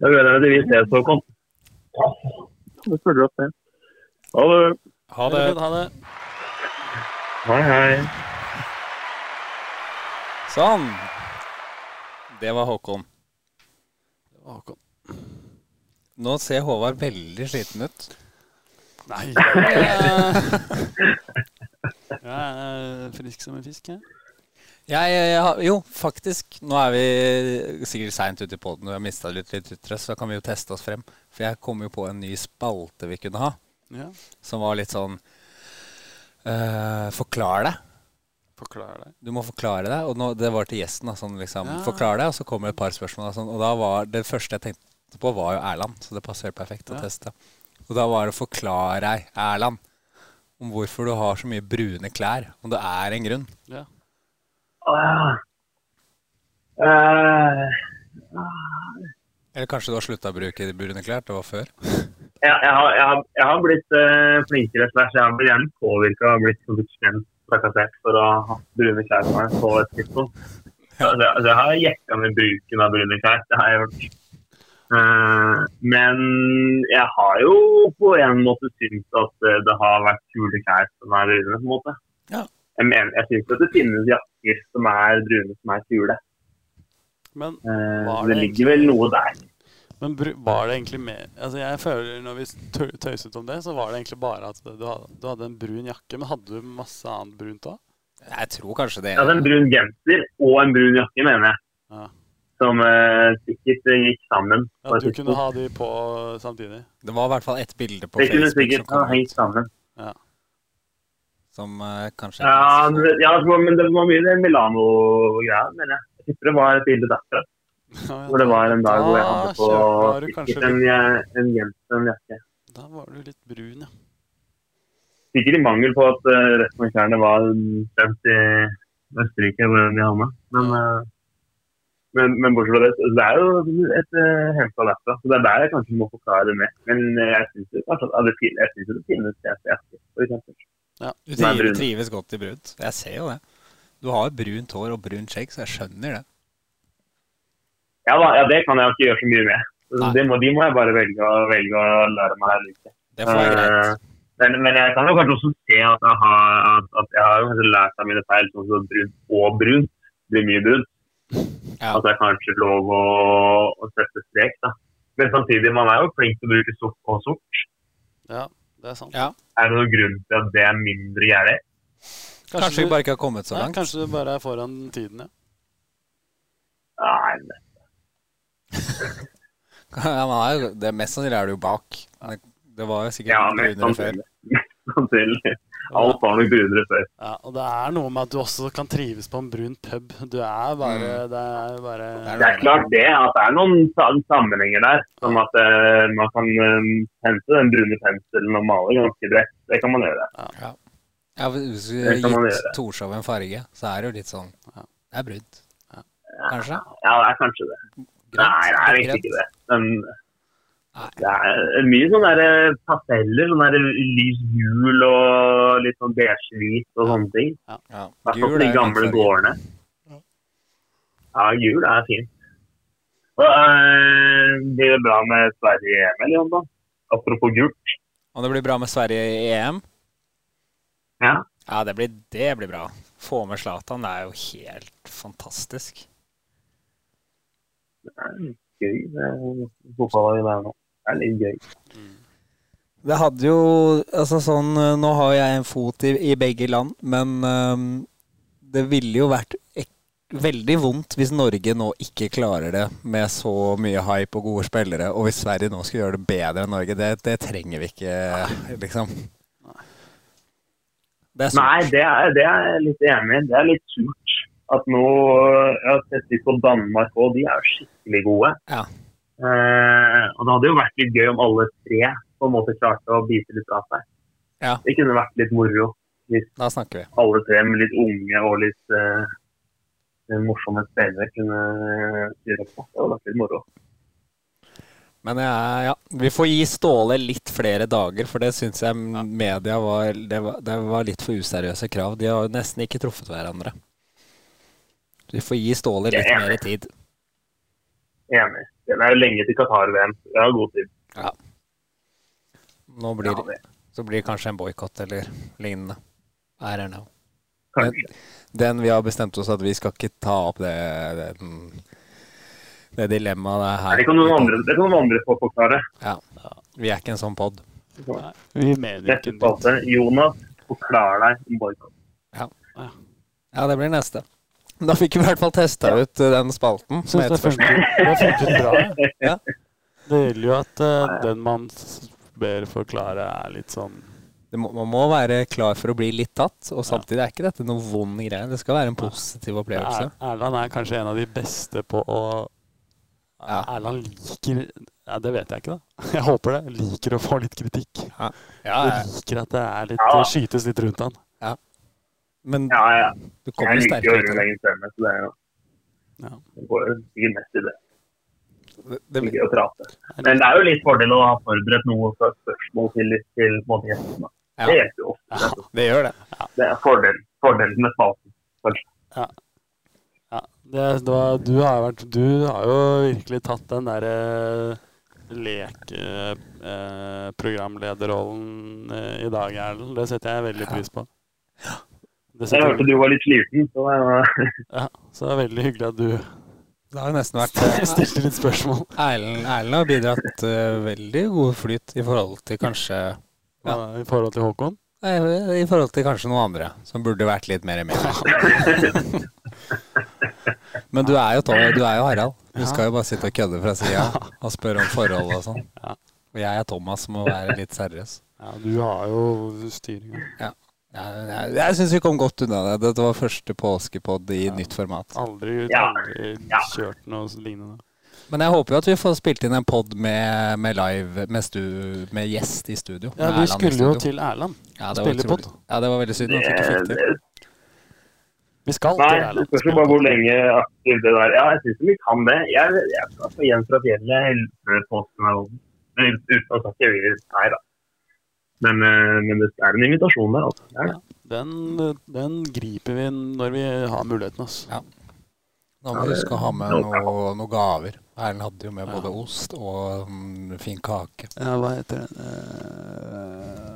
Speaker 1: Da gleder jeg meg til vi ses, Håkon.
Speaker 6: det følger opp det. Ha det.
Speaker 3: Ha det.
Speaker 2: Ha det.
Speaker 1: Hei, hei.
Speaker 3: Sånn. Det var Håkon.
Speaker 2: Håkon.
Speaker 3: Nå ser Håvard veldig sliten ut.
Speaker 2: Nei. Jeg er frisk som en fisk, jeg.
Speaker 3: Jeg, jeg, jeg, har- jo, faktisk. Nå er vi sikkert seint ute i poden, og vi har mista litt, litt ytre, så da kan vi jo teste oss frem. For jeg kom jo på en ny spalte vi kunne ha,
Speaker 2: Ja.
Speaker 3: som var litt sånn eh, Forklar deg.
Speaker 2: Forklar deg.
Speaker 3: Du må forklare deg. Og nå, det var til gjesten. Da, sånn, liksom,
Speaker 2: Ja.
Speaker 3: Forklar deg, og så kommer det et par spørsmål. Da, sånn, og da var det første jeg tenkte på, var jo Erland. Så det passer helt perfekt å
Speaker 2: Ja.
Speaker 3: teste. Og da var det 'forklar deg, Erland', om hvorfor du har så mye brune klær. Om det er en grunn.
Speaker 2: Ja.
Speaker 1: Åh. Eh,
Speaker 3: Eller kanskje du har slutta å bruke brune klær. Det var før.
Speaker 1: jeg, jeg, har, jeg, har, jeg har blitt eh, flinkere, slash jeg har blitt gjerne påvirka og blitt produksjonelt trakassert for å ha brune klær på meg på et tidspunkt. Så det, det har jeg jekka med bruken av brune klær. Det har jeg gjort. Eh, men jeg har jo på en måte syntes at eh, det har vært kule klær som er brune, på en måte.
Speaker 3: Ja.
Speaker 1: Jeg, mener, jeg syns at det finnes jakker som er brune, som er kule.
Speaker 2: Men
Speaker 1: Eh,
Speaker 2: Var
Speaker 1: det
Speaker 2: det
Speaker 1: ligger vel noe der.
Speaker 2: Men bru- var det egentlig mer Altså jeg føler Når vi tø- tøyset om det, så var det egentlig bare at du hadde, du hadde en brun jakke. Men hadde du masse annet brunt da?
Speaker 3: Jeg tror kanskje det.
Speaker 1: Altså en brun genser og en brun jakke, mener jeg.
Speaker 2: Ja.
Speaker 1: Som eh, sikkert eh, gikk sammen. på
Speaker 2: At
Speaker 1: et
Speaker 2: du kunne
Speaker 1: tidspunkt.
Speaker 2: ha de på samtidig?
Speaker 3: Det var i hvert fall ett bilde på
Speaker 1: det kunne
Speaker 3: Facebook som,
Speaker 1: sikkert ha
Speaker 2: sånn.
Speaker 3: kom,
Speaker 1: hengt sammen.
Speaker 3: som eh, kanskje
Speaker 1: Ja, men- ja, det var- men det var mye det Milano-greia, mener jeg. Jeg tipper det var et bilde derfra. Hvor det var en dag hvor jeg hadde på
Speaker 2: Da kjøpte du kanskje
Speaker 1: sikkert en, eh, en genser og en jakke.
Speaker 2: Da var du litt brun, ja.
Speaker 1: Sikkert i mangel på at eh, resten av klærne var stemt i Østerrike, hvor de havna. Men, eh, men, men bortsett fra det, så det er jo et eh, hent av derfra. Så det er der jeg kanskje må forklare det mer. Men eh, jeg syns det, altså, ja, det fin- jeg synes jo det finnes jakker, for eksempel.
Speaker 3: Du
Speaker 1: Nei,
Speaker 3: trives,
Speaker 1: brun.
Speaker 3: trives godt i brunt. Jeg ser jo det. Du har jo brunt hår og brunt skjegg, så jeg skjønner det.
Speaker 1: Ja, da, ja, det kan jeg jo ikke gjøre så mye med. Så
Speaker 3: Nei.
Speaker 1: Det må, de må jeg bare velge, å- velge å lære meg her liksom. ute.
Speaker 3: Det får være greit.
Speaker 1: Men, men jeg kan jo kanskje også se at jeg har, at, at jeg har jo kanskje lært av mine feil, sånn som brudd og brudd. Det blir mye brudd.
Speaker 3: Ja.
Speaker 1: At det er kanskje lov å, å sette strek, da. Men samtidig, man er jo flink til å bruke sort og sort.
Speaker 2: Ja, det er sant.
Speaker 3: Ja.
Speaker 1: Er det noen grunn til at det er mindre gjerdet?
Speaker 3: Kanskje, vi
Speaker 2: du-
Speaker 3: bare ikke har kommet så
Speaker 2: nei,
Speaker 3: langt.
Speaker 2: kanskje du bare er foran tiden, ja.
Speaker 1: Nei, men
Speaker 3: Ja, men nei, det er mest sannsynlig er du jo bak. Det, det var jo sikkert
Speaker 1: ja,
Speaker 3: noen
Speaker 1: mest
Speaker 3: grunner før.
Speaker 1: sannsynlig. Mest sannsynlig. Alt var nok brunere før.
Speaker 2: ja. Og det er noe med at du også kan trives på en brun pub. Du er bare Det er bare
Speaker 3: Mm. Det er
Speaker 1: Det er klart det, at det er noen sa- sammenhenger der. Som at eh, man kan eh, hente den brune penselen og male ganske bredt. Det kan man gjøre.
Speaker 3: Ja, hvis du
Speaker 1: Det kan man
Speaker 3: gitt
Speaker 1: gjøre.
Speaker 3: Torshov en farge, så er det jo litt sånn
Speaker 2: Ja.
Speaker 3: Det er brudd. Kanskje?
Speaker 1: Ja, det er kanskje det. Nei, det er egentlig ikke det. Men
Speaker 3: Nei.
Speaker 1: det er mye sånne der pasteller. Sånn der lys gul og litt sånn beige hvit og sånne ting.
Speaker 3: Ja.
Speaker 1: I hvert fall på
Speaker 3: Gul er
Speaker 1: de
Speaker 3: jo
Speaker 1: gamle
Speaker 3: en farge.
Speaker 1: gårdene. Ja, jul er fint. Og, eh, blir det bra med Sverige i EM, eller Jon? Apropos gult.
Speaker 3: Om det blir bra med Sverige i EM?
Speaker 1: Ja.
Speaker 3: Ja, det blir, det blir bra. Få med Zlatan det er jo helt fantastisk.
Speaker 1: Gøy. det er Fotball i verden. Det er litt gøy.
Speaker 3: Det hadde jo Altså sånn eh, Nå har jeg en fot i, i begge land, men ehm, det ville jo vært ek veldig vondt hvis Norge nå ikke klarer det med så mye hype og gode spillere, og hvis Sverige nå skulle gjøre det bedre enn Norge. Det, det trenger vi ikke, liksom. Det er sånn.
Speaker 1: Nei, det er, det er jeg litt enig i. Det er litt surt. At nå Jeg har sett litt på Danmark òg, de er jo skikkelig gode.
Speaker 3: Ja.
Speaker 1: Eh, og det hadde jo vært litt gøy om alle tre på en måte klarte å bite litt av seg.
Speaker 3: Ja.
Speaker 1: Det kunne vært litt moro.
Speaker 3: Da snakker vi.
Speaker 1: Alle tre med litt unge og litt eh, morsomme spillere kunne styre opp. Det hadde vært litt moro.
Speaker 3: Men ja, ja, vi får gi Ståle litt flere dager, for det syns jeg media var det, var det var litt for useriøse krav. De har jo nesten ikke truffet hverandre. Vi får gi Ståle litt
Speaker 1: Jeg er
Speaker 3: mer tid.
Speaker 1: Enig. Det er jo lenge til Qatar-VM. Det er god tid.
Speaker 3: Nå blir, så blir det kanskje en boikott eller lignende. I don't know.
Speaker 1: Kanskje.
Speaker 3: Den vi har bestemt oss at vi skal ikke ta opp det, den, det dilemmaet her.
Speaker 1: Det kan noen andre, det kan noen andre få forklare.
Speaker 3: Ja. Vi er ikke en sånn pod.
Speaker 2: Vi mener
Speaker 1: Neste
Speaker 2: ikke det.
Speaker 1: spalte. Jonas, forklar deg om boikott.
Speaker 3: Ja, det blir neste. Da fikk vi i hvert fall testa ut eh, den spalten. som
Speaker 2: Synes
Speaker 3: heter
Speaker 2: det funker, det funker bra. jeg.
Speaker 3: Ja.
Speaker 2: Det gjelder jo at eh, den man s- ber forklare, er litt sånn
Speaker 3: det må, man må være klar for å bli litt tatt, og samtidig er ikke dette noe vond greie. Det skal være en positiv opplevelse.
Speaker 2: Er- Erland er kanskje en av de beste på å
Speaker 3: Ja.
Speaker 2: Erland liker ja, Det vet jeg ikke, da. Jeg håper det. Liker å få litt kritikk.
Speaker 3: Ja,
Speaker 2: Du
Speaker 3: ja.
Speaker 2: liker at det er litt,
Speaker 1: Ja.
Speaker 2: skytes litt rundt han.
Speaker 3: Men
Speaker 1: Ja, ja.
Speaker 3: du
Speaker 1: Jeg
Speaker 3: kommer
Speaker 1: liker å
Speaker 3: sterkere
Speaker 1: høre
Speaker 3: ut.
Speaker 1: min egen stemme, så det er jo
Speaker 2: Ja.
Speaker 1: Det går jo sikkert mest i det.
Speaker 3: av det. Det,
Speaker 1: Ikke å prate. Men det er jo litt fordel å ha forberedt noe for spørsmål til, til på en måte, gjestene.
Speaker 3: Ja.
Speaker 1: Det hjelper jo ofte.
Speaker 3: det gjør det.
Speaker 1: Det er fordel, fordelen med spalten.
Speaker 2: Ja, det, det var, du, har vært, du har jo virkelig tatt den eh, derre eh, lek-programlederrollen eh, i dag, Erlend. Det setter jeg veldig pris på. Det
Speaker 1: Jeg
Speaker 2: setter,
Speaker 1: hørte du var litt sliten, så det var
Speaker 2: ja, så det er veldig hyggelig at du
Speaker 3: Det har jo nesten vært eh,
Speaker 2: stilte litt spørsmål.
Speaker 3: Erlend, Erlend har bidratt eh, veldig god flyt i forhold til kanskje
Speaker 2: Ja, eh, I forhold til Håkon?
Speaker 3: nei, I forhold til kanskje noen andre som burde vært litt mer med. Men du er jo, Tom- du er jo Harald. Du skal jo bare sitte og kødde fra sida og spørre om forhold og sånn.
Speaker 2: Ja.
Speaker 3: Og jeg er Thomas, som må være litt seriøs.
Speaker 2: Ja, du har jo styringa.
Speaker 3: Ja, Jeg, jeg syns vi kom godt unna det. Dette var første påskepod i nytt format.
Speaker 2: Aldri,
Speaker 1: Ja.
Speaker 2: aldri
Speaker 1: Ja.
Speaker 2: kjørt noe lignende.
Speaker 3: Men jeg håper jo at vi får spilt inn en pod med, med live med, stu, med gjest i studio.
Speaker 2: Ja,
Speaker 3: Med
Speaker 2: vi
Speaker 3: Erland i
Speaker 2: skulle jo
Speaker 3: studio.
Speaker 2: til Erland.
Speaker 3: ja, det var
Speaker 2: spillepod.
Speaker 3: utrolig. Ja, det var veldig synd at vi ikke fikk
Speaker 1: det,
Speaker 3: til.
Speaker 2: Vi skal
Speaker 1: Nei,
Speaker 2: til
Speaker 1: det
Speaker 2: Erland.
Speaker 1: spørs jo bare hvor lenge aktiv det der. Ja, jeg syns vi kan det. Jeg, jeg skal få igjen fra fjellet helt før påsken er over. Men Uten å snakke videre. Nei da. Men, eh, men det er en invitasjon der, altså. Det er det.
Speaker 2: Den, den griper vi når vi har muligheten, altså.
Speaker 3: Da må vi huske å ha med noe, noe gaver. Erlend hadde jo med både ost og mm, fin kake.
Speaker 2: Ja, hva heter den? Eh,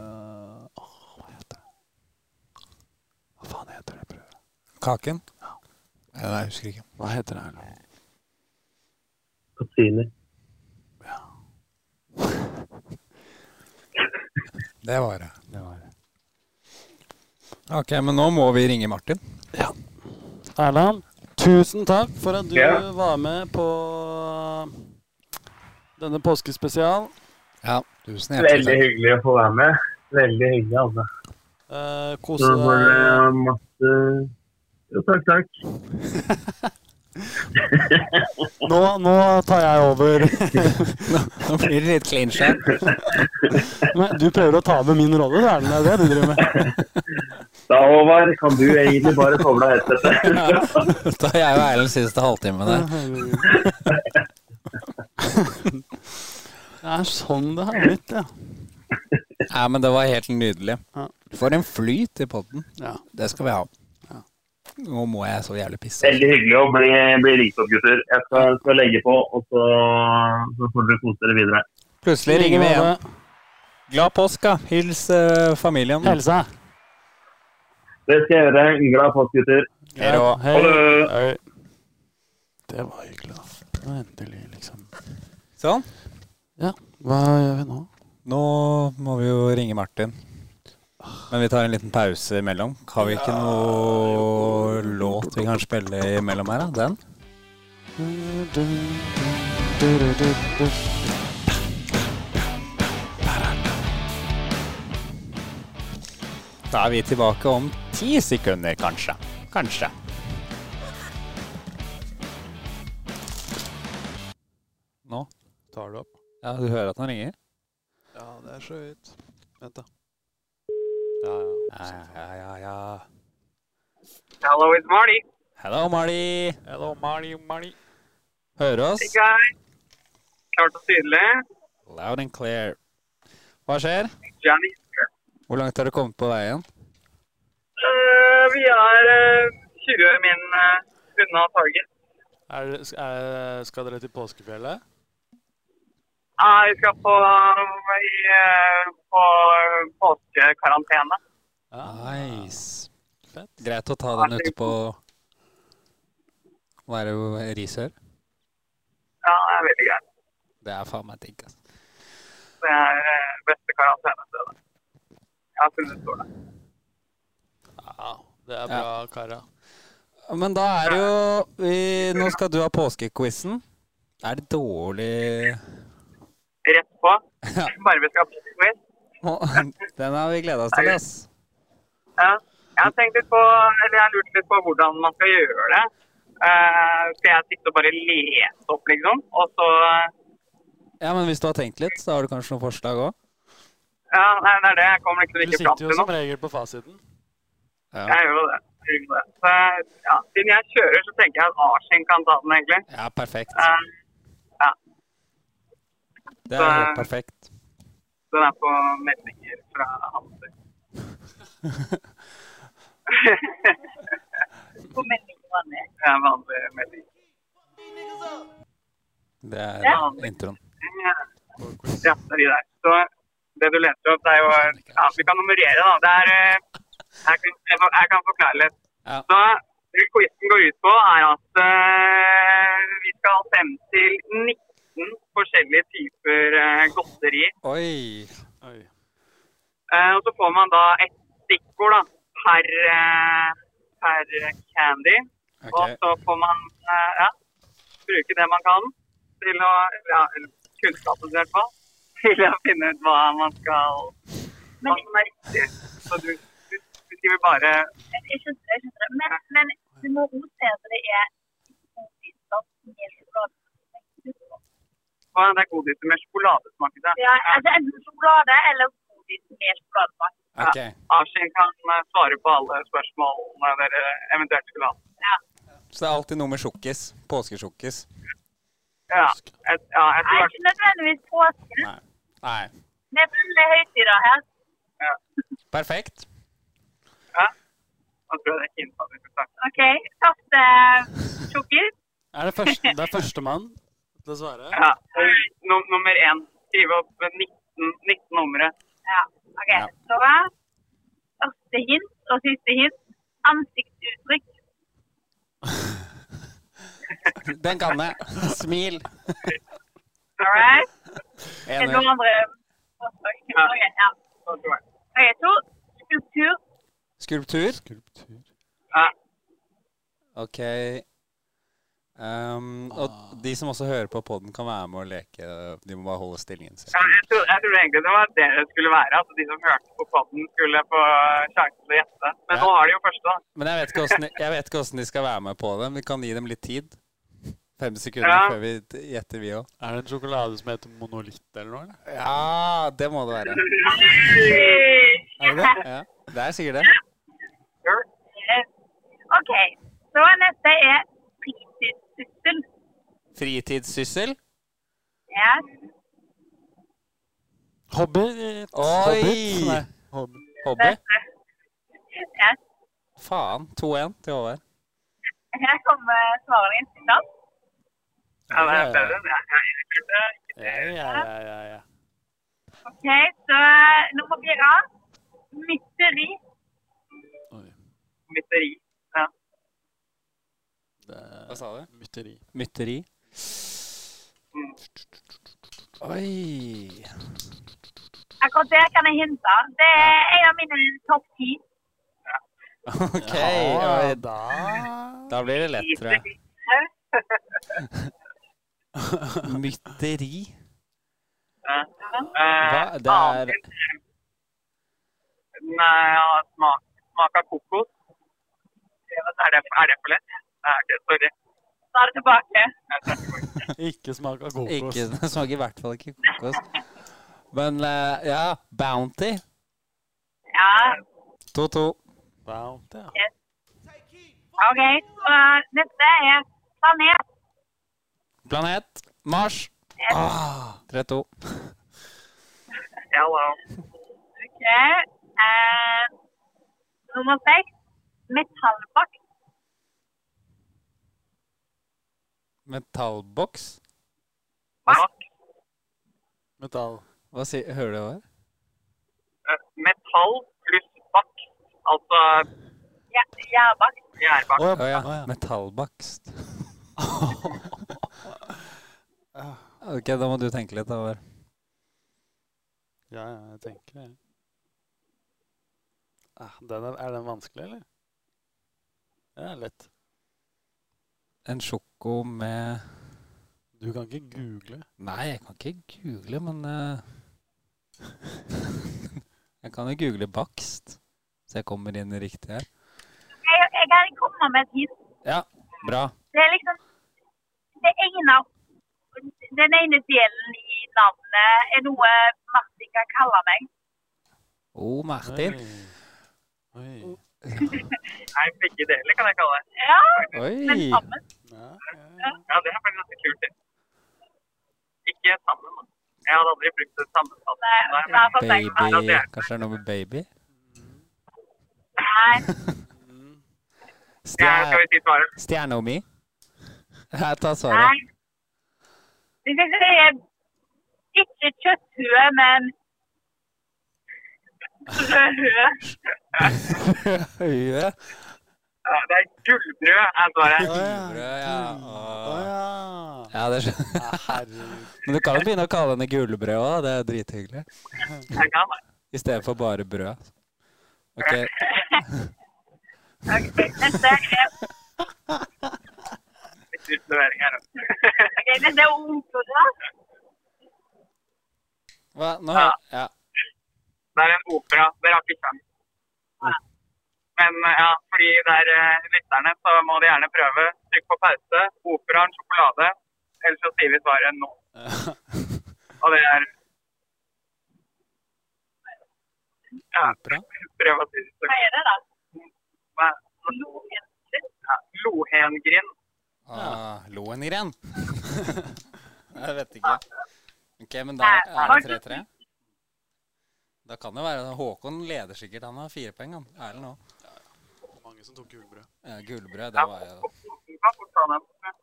Speaker 3: Kaken?
Speaker 7: Eh, Nei, jeg husker ikke. Hva heter det her nå?
Speaker 1: Katrine.
Speaker 7: Det var det.
Speaker 3: Ok, men nå må vi ringe Martin.
Speaker 2: Erland, tusen takk for at du
Speaker 1: Ja.
Speaker 2: var med på eh, denne påskespesial.
Speaker 7: Ja, tusen hjertelig
Speaker 1: Veldig
Speaker 7: takk.
Speaker 1: hyggelig å få være med. Veldig hyggelig, altså.
Speaker 2: Eh,
Speaker 1: Så
Speaker 2: kose
Speaker 1: var
Speaker 2: deg.
Speaker 1: det masse Jo, takk, takk.
Speaker 2: Nå, nå tar jeg over.
Speaker 3: Nå blir det litt clinch her.
Speaker 2: Men du prøver å ta over min rolle, så er det det du driver med?
Speaker 1: Da, Håvard, kan du egentlig bare koble av headsetet?
Speaker 3: Da er jeg og Erlend siste halvtime der.
Speaker 2: Det er sånn det har blitt, ja.
Speaker 3: Nei, men det var helt nydelig.
Speaker 2: Ja.
Speaker 3: For en flyt i podden.
Speaker 2: ja.
Speaker 3: Det skal vi ha. Nå må jeg så jævlig pisse.
Speaker 1: Veldig hyggelig å bli, bli ringt opp, gutter. Jeg skal, skal legge på, og så, så får dere kose dere videre.
Speaker 3: Plutselig ringer vi igjen. Glad påsk, da. Hils eh, familien.
Speaker 2: Helsa.
Speaker 1: Det skal jeg gjøre. Glad påske, gutter.
Speaker 2: Hei rå. Hei.
Speaker 1: Ha det.
Speaker 2: Hei. Det var hyggelig, da. Nå endelig, liksom.
Speaker 3: Sånn.
Speaker 2: Ja, hva gjør vi nå?
Speaker 3: Nå må vi jo ringe Martin. Men vi tar en liten pause imellom. Har vi ikke noe låt vi kan spille imellom her, da? Den? Da er vi tilbake om ti sekunder, kanskje. Kanskje. Nå?
Speaker 2: Tar du opp?
Speaker 3: Ja, du hører at han ringer?
Speaker 2: Ja, det er så vidt. Vent, da. Ja, ja.
Speaker 3: ja, ja, ja.
Speaker 8: Hello, it's Marty.
Speaker 3: Hello, Mali.
Speaker 2: Hello, Mali, Mali.
Speaker 3: Hører du oss?
Speaker 8: guys. Klart og tydelig.
Speaker 3: Loud and clear. Hva skjer?
Speaker 8: Johnny.
Speaker 3: Hvor langt har du kommet på veien?
Speaker 8: Eh, vi er eh, 20 min eh, unna target.
Speaker 2: Er, er, skal dere til påskefjellet?
Speaker 8: Nei, Eh, vi skal på, i, eh, på påskekarantene.
Speaker 3: Nice.
Speaker 2: Fett.
Speaker 3: Ah. Greit å ta den ut på Hva er det Risør?
Speaker 8: Ja, det er veldig greit.
Speaker 3: Det er faen meg digg, altså. ass.
Speaker 8: Det er eh, beste karantenestedet. Jeg har funnet ut det.
Speaker 2: Ja, det er bra, Kara.
Speaker 3: Men da er det jo vi, Nå skal du ha påskequizen. Er det dårlig
Speaker 8: Rett på.
Speaker 3: Ja.
Speaker 8: Bare vi skal på quiz.
Speaker 3: Å, Den har vi gleda oss til, ass.
Speaker 8: Ja. Jeg har tenkt litt på, eller jeg har lurt litt på hvordan man skal gjøre det. Eh, skal jeg sitte og bare lese opp, liksom? Og så eh,
Speaker 3: Ja, men hvis du har tenkt litt, så har du kanskje noen forslag òg?
Speaker 8: Ja, nei, det er det. Jeg kommer liksom
Speaker 2: Du
Speaker 8: ikke fram
Speaker 2: sitter
Speaker 8: til
Speaker 2: jo
Speaker 8: noe.
Speaker 2: som regel på fasiten.
Speaker 8: Jeg gjør jo det. Jeg gjør jo det. Så, ja, siden jeg kjører, så tenker jeg at Arsen kan ta den, egentlig.
Speaker 3: Ja, perfekt.
Speaker 8: Eh,
Speaker 3: Det er helt perfekt.
Speaker 8: Den er på meldinger fra Hanser. på meldinger var det? Ja, vanlige meldinger.
Speaker 3: Det
Speaker 8: Ja.
Speaker 3: er introen.
Speaker 8: Ja, Ja, det er de der. Så det du leter opp, det er jo Ja, vi kan nummerere, da. Det er eh, Jeg kan, jeg kan- jeg kan forklare litt.
Speaker 3: Ja.
Speaker 8: Så det quizen går ut på, er at eh, vi skal frem til 19 forskjellige typer eh, godteri.
Speaker 3: Oi.
Speaker 2: Oi.
Speaker 8: Eh, og så får man da et stikkord da, per, eh, per candy. Og
Speaker 3: Ok.
Speaker 8: så får man eh, ja, bruke det man kan til å ja, eller kunnskapen i hvert fall, til å finne ut hva man skal hva som er riktig. Så du, du, du skriver bare
Speaker 9: Men, jeg skjønner, jeg skjønter det. Men, men du må også se at det er godisdag med sjokolade.
Speaker 8: hva det er godis med sjokoladesmak i det.
Speaker 9: Ja, altså enten sjokolade eller godis med sjokoladesmak.
Speaker 3: Ok.
Speaker 8: Ashin kan eh, svare på alle spørsmålene dere eventuelt skulle ha.
Speaker 3: Så det er alltid noe med sjokkis. Påskesjokkis.
Speaker 8: Ja, et, ja, jeg
Speaker 9: Nei,
Speaker 8: tror
Speaker 9: ikke nødvendigvis påsken.
Speaker 3: Nei. Nei.
Speaker 9: Det er fulle høytider her.
Speaker 3: Perfekt.
Speaker 8: jeg tror det er hint at vi skal snakke.
Speaker 9: OK. eh, Første sjokkis.
Speaker 2: Er det, første, det er førstemann til å svare?
Speaker 8: Ja. eh, Num nummer én. Skrive opp 19, 19 numre.
Speaker 9: Ja. OK.
Speaker 3: Ja.
Speaker 9: Så første hint og siste hint. Ansiktsuttrykk.
Speaker 3: Den kan jeg. Smil.
Speaker 9: All right? Er det
Speaker 3: Enig.
Speaker 9: noen andre forslag? Ok, ja. Ok, to. Skulptur.
Speaker 3: Skulptur.
Speaker 9: Ja.
Speaker 3: Ok. Ehm,
Speaker 2: Ah.
Speaker 3: og de som også hører på podden kan være med og leke. De må bare holde stillingen sin.
Speaker 8: Ja, jeg, tror, jeg tror egentlig det var det det skulle være. At de som hørte på podden skulle få sjansen til å gjette. Men
Speaker 3: Ja.
Speaker 8: nå har de jo første, da.
Speaker 3: Men jeg vet, ikke hvordan, de- jeg vet ikke hvordan de skal være med på det. Vi kan gi dem litt tid. Fem sekunder
Speaker 8: Ja.
Speaker 3: før vi t- gjetter, vi òg.
Speaker 2: Er det en sjokolade som heter monolitt eller noe? Eller?
Speaker 3: Ja, det må det være. Er det det? Ja. Det er sikkert det.
Speaker 9: Ok, så neste er fritidssyssel.
Speaker 3: Fritidssyssel.
Speaker 9: Ja.
Speaker 2: Hobbit.
Speaker 3: Oi!
Speaker 2: Hobbit.
Speaker 3: Hobby.
Speaker 9: Ja.
Speaker 3: Faen. 2-1 til Håvard.
Speaker 9: Her kommer svarene i stedet.
Speaker 8: Ja, det er bedre. Ja, ja, jeg skjønner.
Speaker 2: Ja, ja, ja, ja, ja.
Speaker 9: Ok, så nummer fire. Mytteri.
Speaker 8: Mytteri. Ja.
Speaker 3: Hva sa du?
Speaker 2: Mytteri.
Speaker 3: Mytteri. Oi.
Speaker 9: Akkurat der kan jeg hinte. Det er en av mine topp ti.
Speaker 3: OK.
Speaker 2: Ja,
Speaker 3: Oi.
Speaker 2: da.
Speaker 3: Da blir det lett, tror jeg. Mytteri?
Speaker 8: Eh,
Speaker 3: Hva? Det er
Speaker 8: Nei, eh, ja, smak, smak av kokos. Ja, Er det, er det for lett? Nei, ok, sorry.
Speaker 9: Da er det tilbake.
Speaker 2: Ikke smak av kokos.
Speaker 3: ikke Det smaker i hvert fall ikke kokos. Men eh, ja, Bounty.
Speaker 9: Ja,
Speaker 3: 2-2.
Speaker 2: Bounty, ja.
Speaker 9: ok. Så neste er planet.
Speaker 3: Planet Mars. Ah, 3-2.
Speaker 8: Hello.
Speaker 9: Ok. Eh, nummer seks. Metallbakt.
Speaker 3: Metallboks.
Speaker 8: Bak.
Speaker 2: Metall.
Speaker 3: Hva sier Hører du hva? det er?
Speaker 8: Eh, Metall pluss bak. Altså
Speaker 9: Ja, jærbakt.
Speaker 8: gjærbak.
Speaker 3: Å ja.
Speaker 2: Å, ja.
Speaker 3: Metallbakst. OK, da må du tenke litt. Over.
Speaker 2: Ja, ja, jeg tenker det. Ah, den er, er den vanskelig, eller? Den er lett.
Speaker 3: En sjoko med
Speaker 2: Du kan ikke google.
Speaker 3: Nei, jeg kan ikke google, men eh, Jeg kan jo google bakst, så jeg kommer inn riktig her.
Speaker 9: Jeg, jeg kan komme med et hint.
Speaker 3: Ja, bra.
Speaker 9: Det er liksom det ene, Den ene delen i navnet er noe Martin kan kalle meg.
Speaker 3: Oh, Martin.
Speaker 2: Oi. Oi.
Speaker 8: Nei, begge deler kan jeg kalle det.
Speaker 9: Ja, men
Speaker 3: Oi!
Speaker 9: sammen.
Speaker 2: Ja, ja, ja.
Speaker 8: Ja, det er faktisk ganske kult. det. Ikke sammen. da. Jeg hadde aldri brukt det sånn samme. sammen.
Speaker 9: Nei,
Speaker 8: Nei,
Speaker 9: det er for
Speaker 3: Baby
Speaker 9: sent.
Speaker 8: altså.
Speaker 3: Kanskje det er noe med baby?
Speaker 9: Nei.
Speaker 2: Mm.
Speaker 8: Ja, skal
Speaker 3: Stjer
Speaker 8: vi si svaret?
Speaker 3: Stjerna mi. Jeg tar
Speaker 9: Nei.
Speaker 3: svaret.
Speaker 9: Hvis jeg sier ikke kjøtthue, men rødhue
Speaker 3: Huet.
Speaker 8: Ja, Eh, Det er gullbrød, er svaret.
Speaker 2: Å, ja.
Speaker 3: Gullbrød, ja.
Speaker 2: Å
Speaker 3: Å.
Speaker 2: ja.
Speaker 3: Ja, det skjønner
Speaker 2: Ja, Herregud.
Speaker 3: Men du kan jo begynne å kalle henne gullbrød òg. Det er drithyggelig.
Speaker 8: Jeg kan det.
Speaker 3: I stedet for bare brød. Ok,
Speaker 9: Ok, Neste er,
Speaker 8: Litt utlevering her.
Speaker 9: ok, neste er ungkode.
Speaker 3: hva? Nå?
Speaker 8: Ja.
Speaker 3: Ja.
Speaker 8: Det er en opera. Dere har ikke sjans. Men eh, ja, fordi det er eh, lytterne, så må de gjerne prøve. Trykk på pause. Operaen, sjokolade. Ellers så sier vi svaret nå. Og det er Ja,
Speaker 3: Opera?
Speaker 8: prøv å si det.
Speaker 9: Hva er det, da?
Speaker 8: Hva er det? Ja, Lohengrin.
Speaker 3: Ah, Lohengren. jeg vet ikke. Ok, men da er
Speaker 9: Nei,
Speaker 3: det 3-3. Da kan det være Håkon leder sikkert. Han har fire poeng, han. Erlend òg.
Speaker 2: Mange som tok julebrød.
Speaker 3: Ja, gullbrød, det var jo
Speaker 8: Vi kan fort ta den.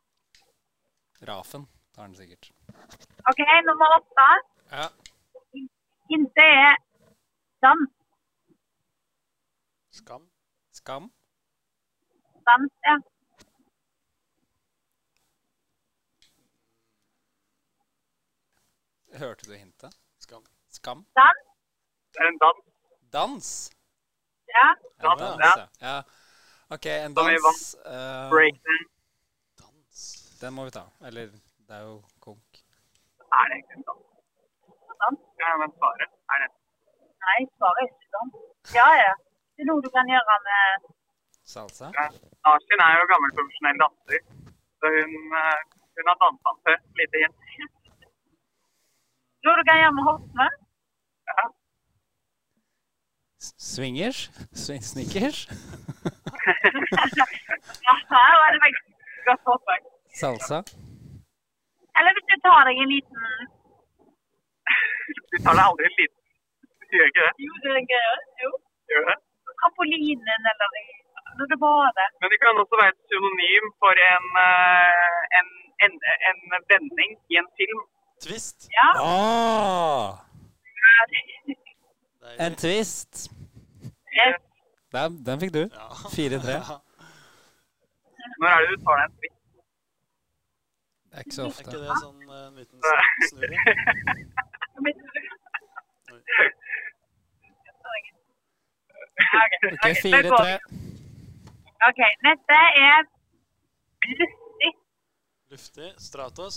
Speaker 3: Rafen. Tar han sikkert.
Speaker 9: Ok, nummer åtte.
Speaker 3: Ja.
Speaker 9: Inte er dans.
Speaker 2: Skam.
Speaker 3: Skam.
Speaker 9: Dans, ja.
Speaker 3: Hørte du hintet?
Speaker 2: Skam.
Speaker 3: Skam?
Speaker 9: Dans?
Speaker 8: En dans.
Speaker 3: Dans?
Speaker 9: Ja.
Speaker 3: Ja,
Speaker 8: Dans,
Speaker 3: dans,
Speaker 8: ja.
Speaker 3: ja. ja. OK, en
Speaker 8: Som i
Speaker 3: dans. eh,
Speaker 8: Breakdance
Speaker 3: den må vi ta. Eller det er jo konk.
Speaker 8: er det egentlig en dans.
Speaker 9: dans?
Speaker 8: Ja, men svaret er det.
Speaker 9: Nei, svaret er ikke dans. Ja, ja. Det er noe du kan gjøre med
Speaker 3: Salsa?
Speaker 8: Nashin er jo gammel profesjonell danser, så hun, eh, hun har dansa før. Lite hint.
Speaker 9: Noe du kan gjøre med hoftene.
Speaker 3: S- Swingers? Swing snickers?
Speaker 9: Ja, her var det faktisk godt forslag.
Speaker 3: Salsa?
Speaker 9: Eller hvis du tar deg en liten
Speaker 8: Du tar deg aldri liten. Du gjør ikke det.
Speaker 9: Jo, det er gøy. Jo.
Speaker 8: Gjør du det?
Speaker 9: Trampolinen eller i- når du bader.
Speaker 8: Men det kan også være et synonym for en, eh, en, en, en vending i en film.
Speaker 2: Twist.
Speaker 9: Ja.
Speaker 3: Ah, en twist!
Speaker 9: Yes.
Speaker 3: Den, den fikk du.
Speaker 2: Ja.
Speaker 3: 4-3.
Speaker 8: Når er det du tar deg en stikk?
Speaker 7: Det er ikke så
Speaker 2: Er
Speaker 7: ofte.
Speaker 2: ikke det sånn eh, en liten snu- snurre?
Speaker 9: Ok.
Speaker 3: OK,
Speaker 9: Ok, det går.
Speaker 3: 4-3.
Speaker 9: OK. Neste er luftig.
Speaker 2: Luftig. Stratos.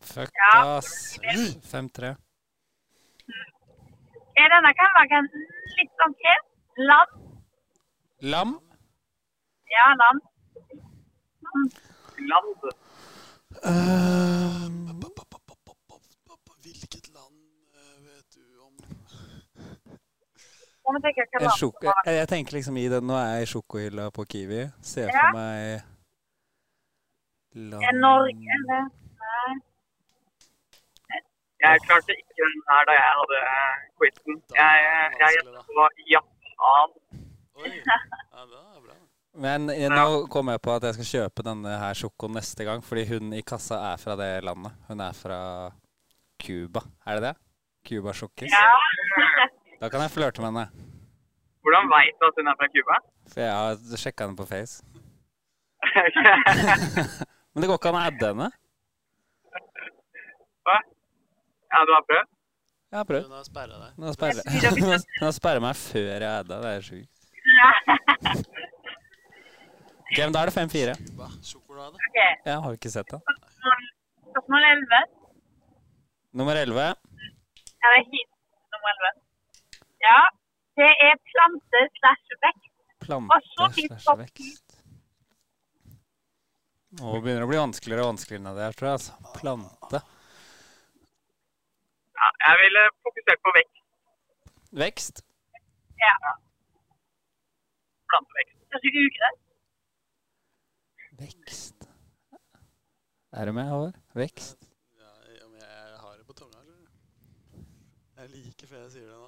Speaker 7: Fuck,
Speaker 9: Ja.
Speaker 7: ass. 5-3.
Speaker 9: Er denne kan være en litt sånn krem? Lam?
Speaker 7: Lam?
Speaker 9: Ja, lam.
Speaker 8: Land.
Speaker 2: Hvilket land eh, vet du om?
Speaker 9: Må vi tenke hva
Speaker 3: En
Speaker 9: lam
Speaker 3: sjoko...
Speaker 9: var.
Speaker 3: Jeg, jeg tenker liksom i den Nå er jeg i sjokohylla på Kiwi. Ser
Speaker 9: Ja.
Speaker 3: for meg
Speaker 9: Er Norge eller? Nei.
Speaker 8: Jeg klarte ikke den her da jeg hadde quizen. Jeg, jeg gjettet på Japan.
Speaker 2: Oi. Ja, det er bra.
Speaker 3: Men eh, nå kom jeg på at jeg skal kjøpe denne her sjokoen neste gang, fordi hun i kassa er fra det landet. Hun er fra Cuba. Er det det? Cuba-sjokkis?
Speaker 9: Ja.
Speaker 3: Da kan jeg flørte med henne.
Speaker 8: Hvordan vet du at hun er fra Cuba?
Speaker 3: For jeg har sjekka henne på Face. Men det går ikke an å adde henne.
Speaker 8: ja, du har prøvd?
Speaker 3: Jeg har prøvd.
Speaker 2: Hun har sperra deg.
Speaker 3: Hun har sperret- Hun har- hun har sperra meg før jeg adda. Det er sjukt. Ok, men da er det 5-4.
Speaker 2: Cuba. Sjokolade.
Speaker 9: OK.
Speaker 3: Jeg har ikke sett den.
Speaker 9: Spørsmål- Spørsmål 11.
Speaker 3: Nummer 11.
Speaker 9: Her er hit nummer 11. Ja. Det er plante slash vekst.
Speaker 3: Plante slash vekst. Nå begynner det å bli vanskeligere og vanskeligere enn det her, tror jeg. Altså. Plante.
Speaker 8: Ja, jeg ville fokusert på vekst.
Speaker 3: Vekst.
Speaker 9: Ja.
Speaker 8: Plantevekst.
Speaker 9: Kanskje ikke ugress.
Speaker 3: Vekst. Er du med, Håvard? Vekst.
Speaker 2: Ja, ja, men jeg har det på tunga. skjønner du. Jeg liker før jeg sier det nå.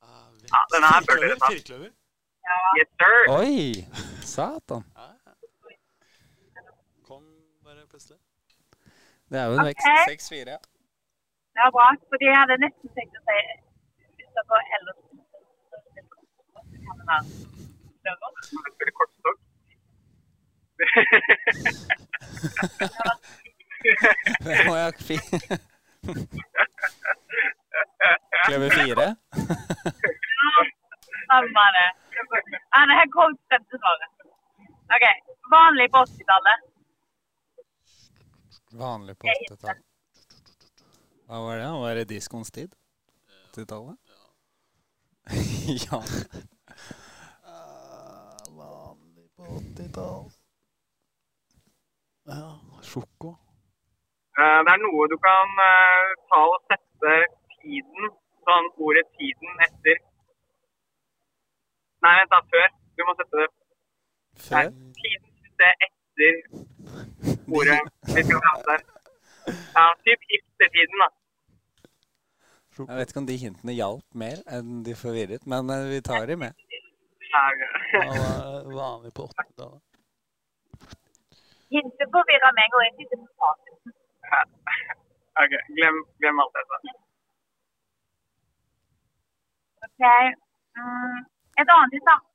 Speaker 2: Ah, vekst.
Speaker 8: Ja, denne her burde dere
Speaker 2: Firkløver.
Speaker 8: ta.
Speaker 2: Firkløver.
Speaker 8: Yes, sir.
Speaker 3: Oi! Satan.
Speaker 2: Ja, ja. Kom bare plutselig.
Speaker 3: Det er jo en vekst. 6-4.
Speaker 9: Det var bra. Fordi jeg hadde nesten tenkt å si hvis dere ellers
Speaker 8: Jeg spiller kortstokk.
Speaker 3: Det må jeg fi- Kløver 4.
Speaker 9: Samme det. Ja, det her kom stemte svaret. OK. Vanlig på 80-tallet.
Speaker 7: Vanlig på 80-tallet.
Speaker 3: Hva var det? Var det diskoens tid? 80-tallet? ja.
Speaker 2: Vanlig på 80-tall. Ja, sjoko.
Speaker 8: Eh, Det er noe du kan eh, ta og sette tiden, sånn ordet tiden etter. Nei, vent da, før. Du må sette det Nei,
Speaker 3: Før?
Speaker 8: tiden det er etter ordet vi skal prate der. Ja, typ hipstertiden, da.
Speaker 3: Jeg vet ikke om de hintene hjalp mer enn de forvirret, men eh, vi tar de med.
Speaker 8: Ja, ok.
Speaker 2: Han var vanlig på 80-tallet.
Speaker 9: Hintet forvirra meg, og jeg sitter på fasiten.
Speaker 8: Ok, glem, glem alt dette.
Speaker 9: OK. Mm. Et annet i sam-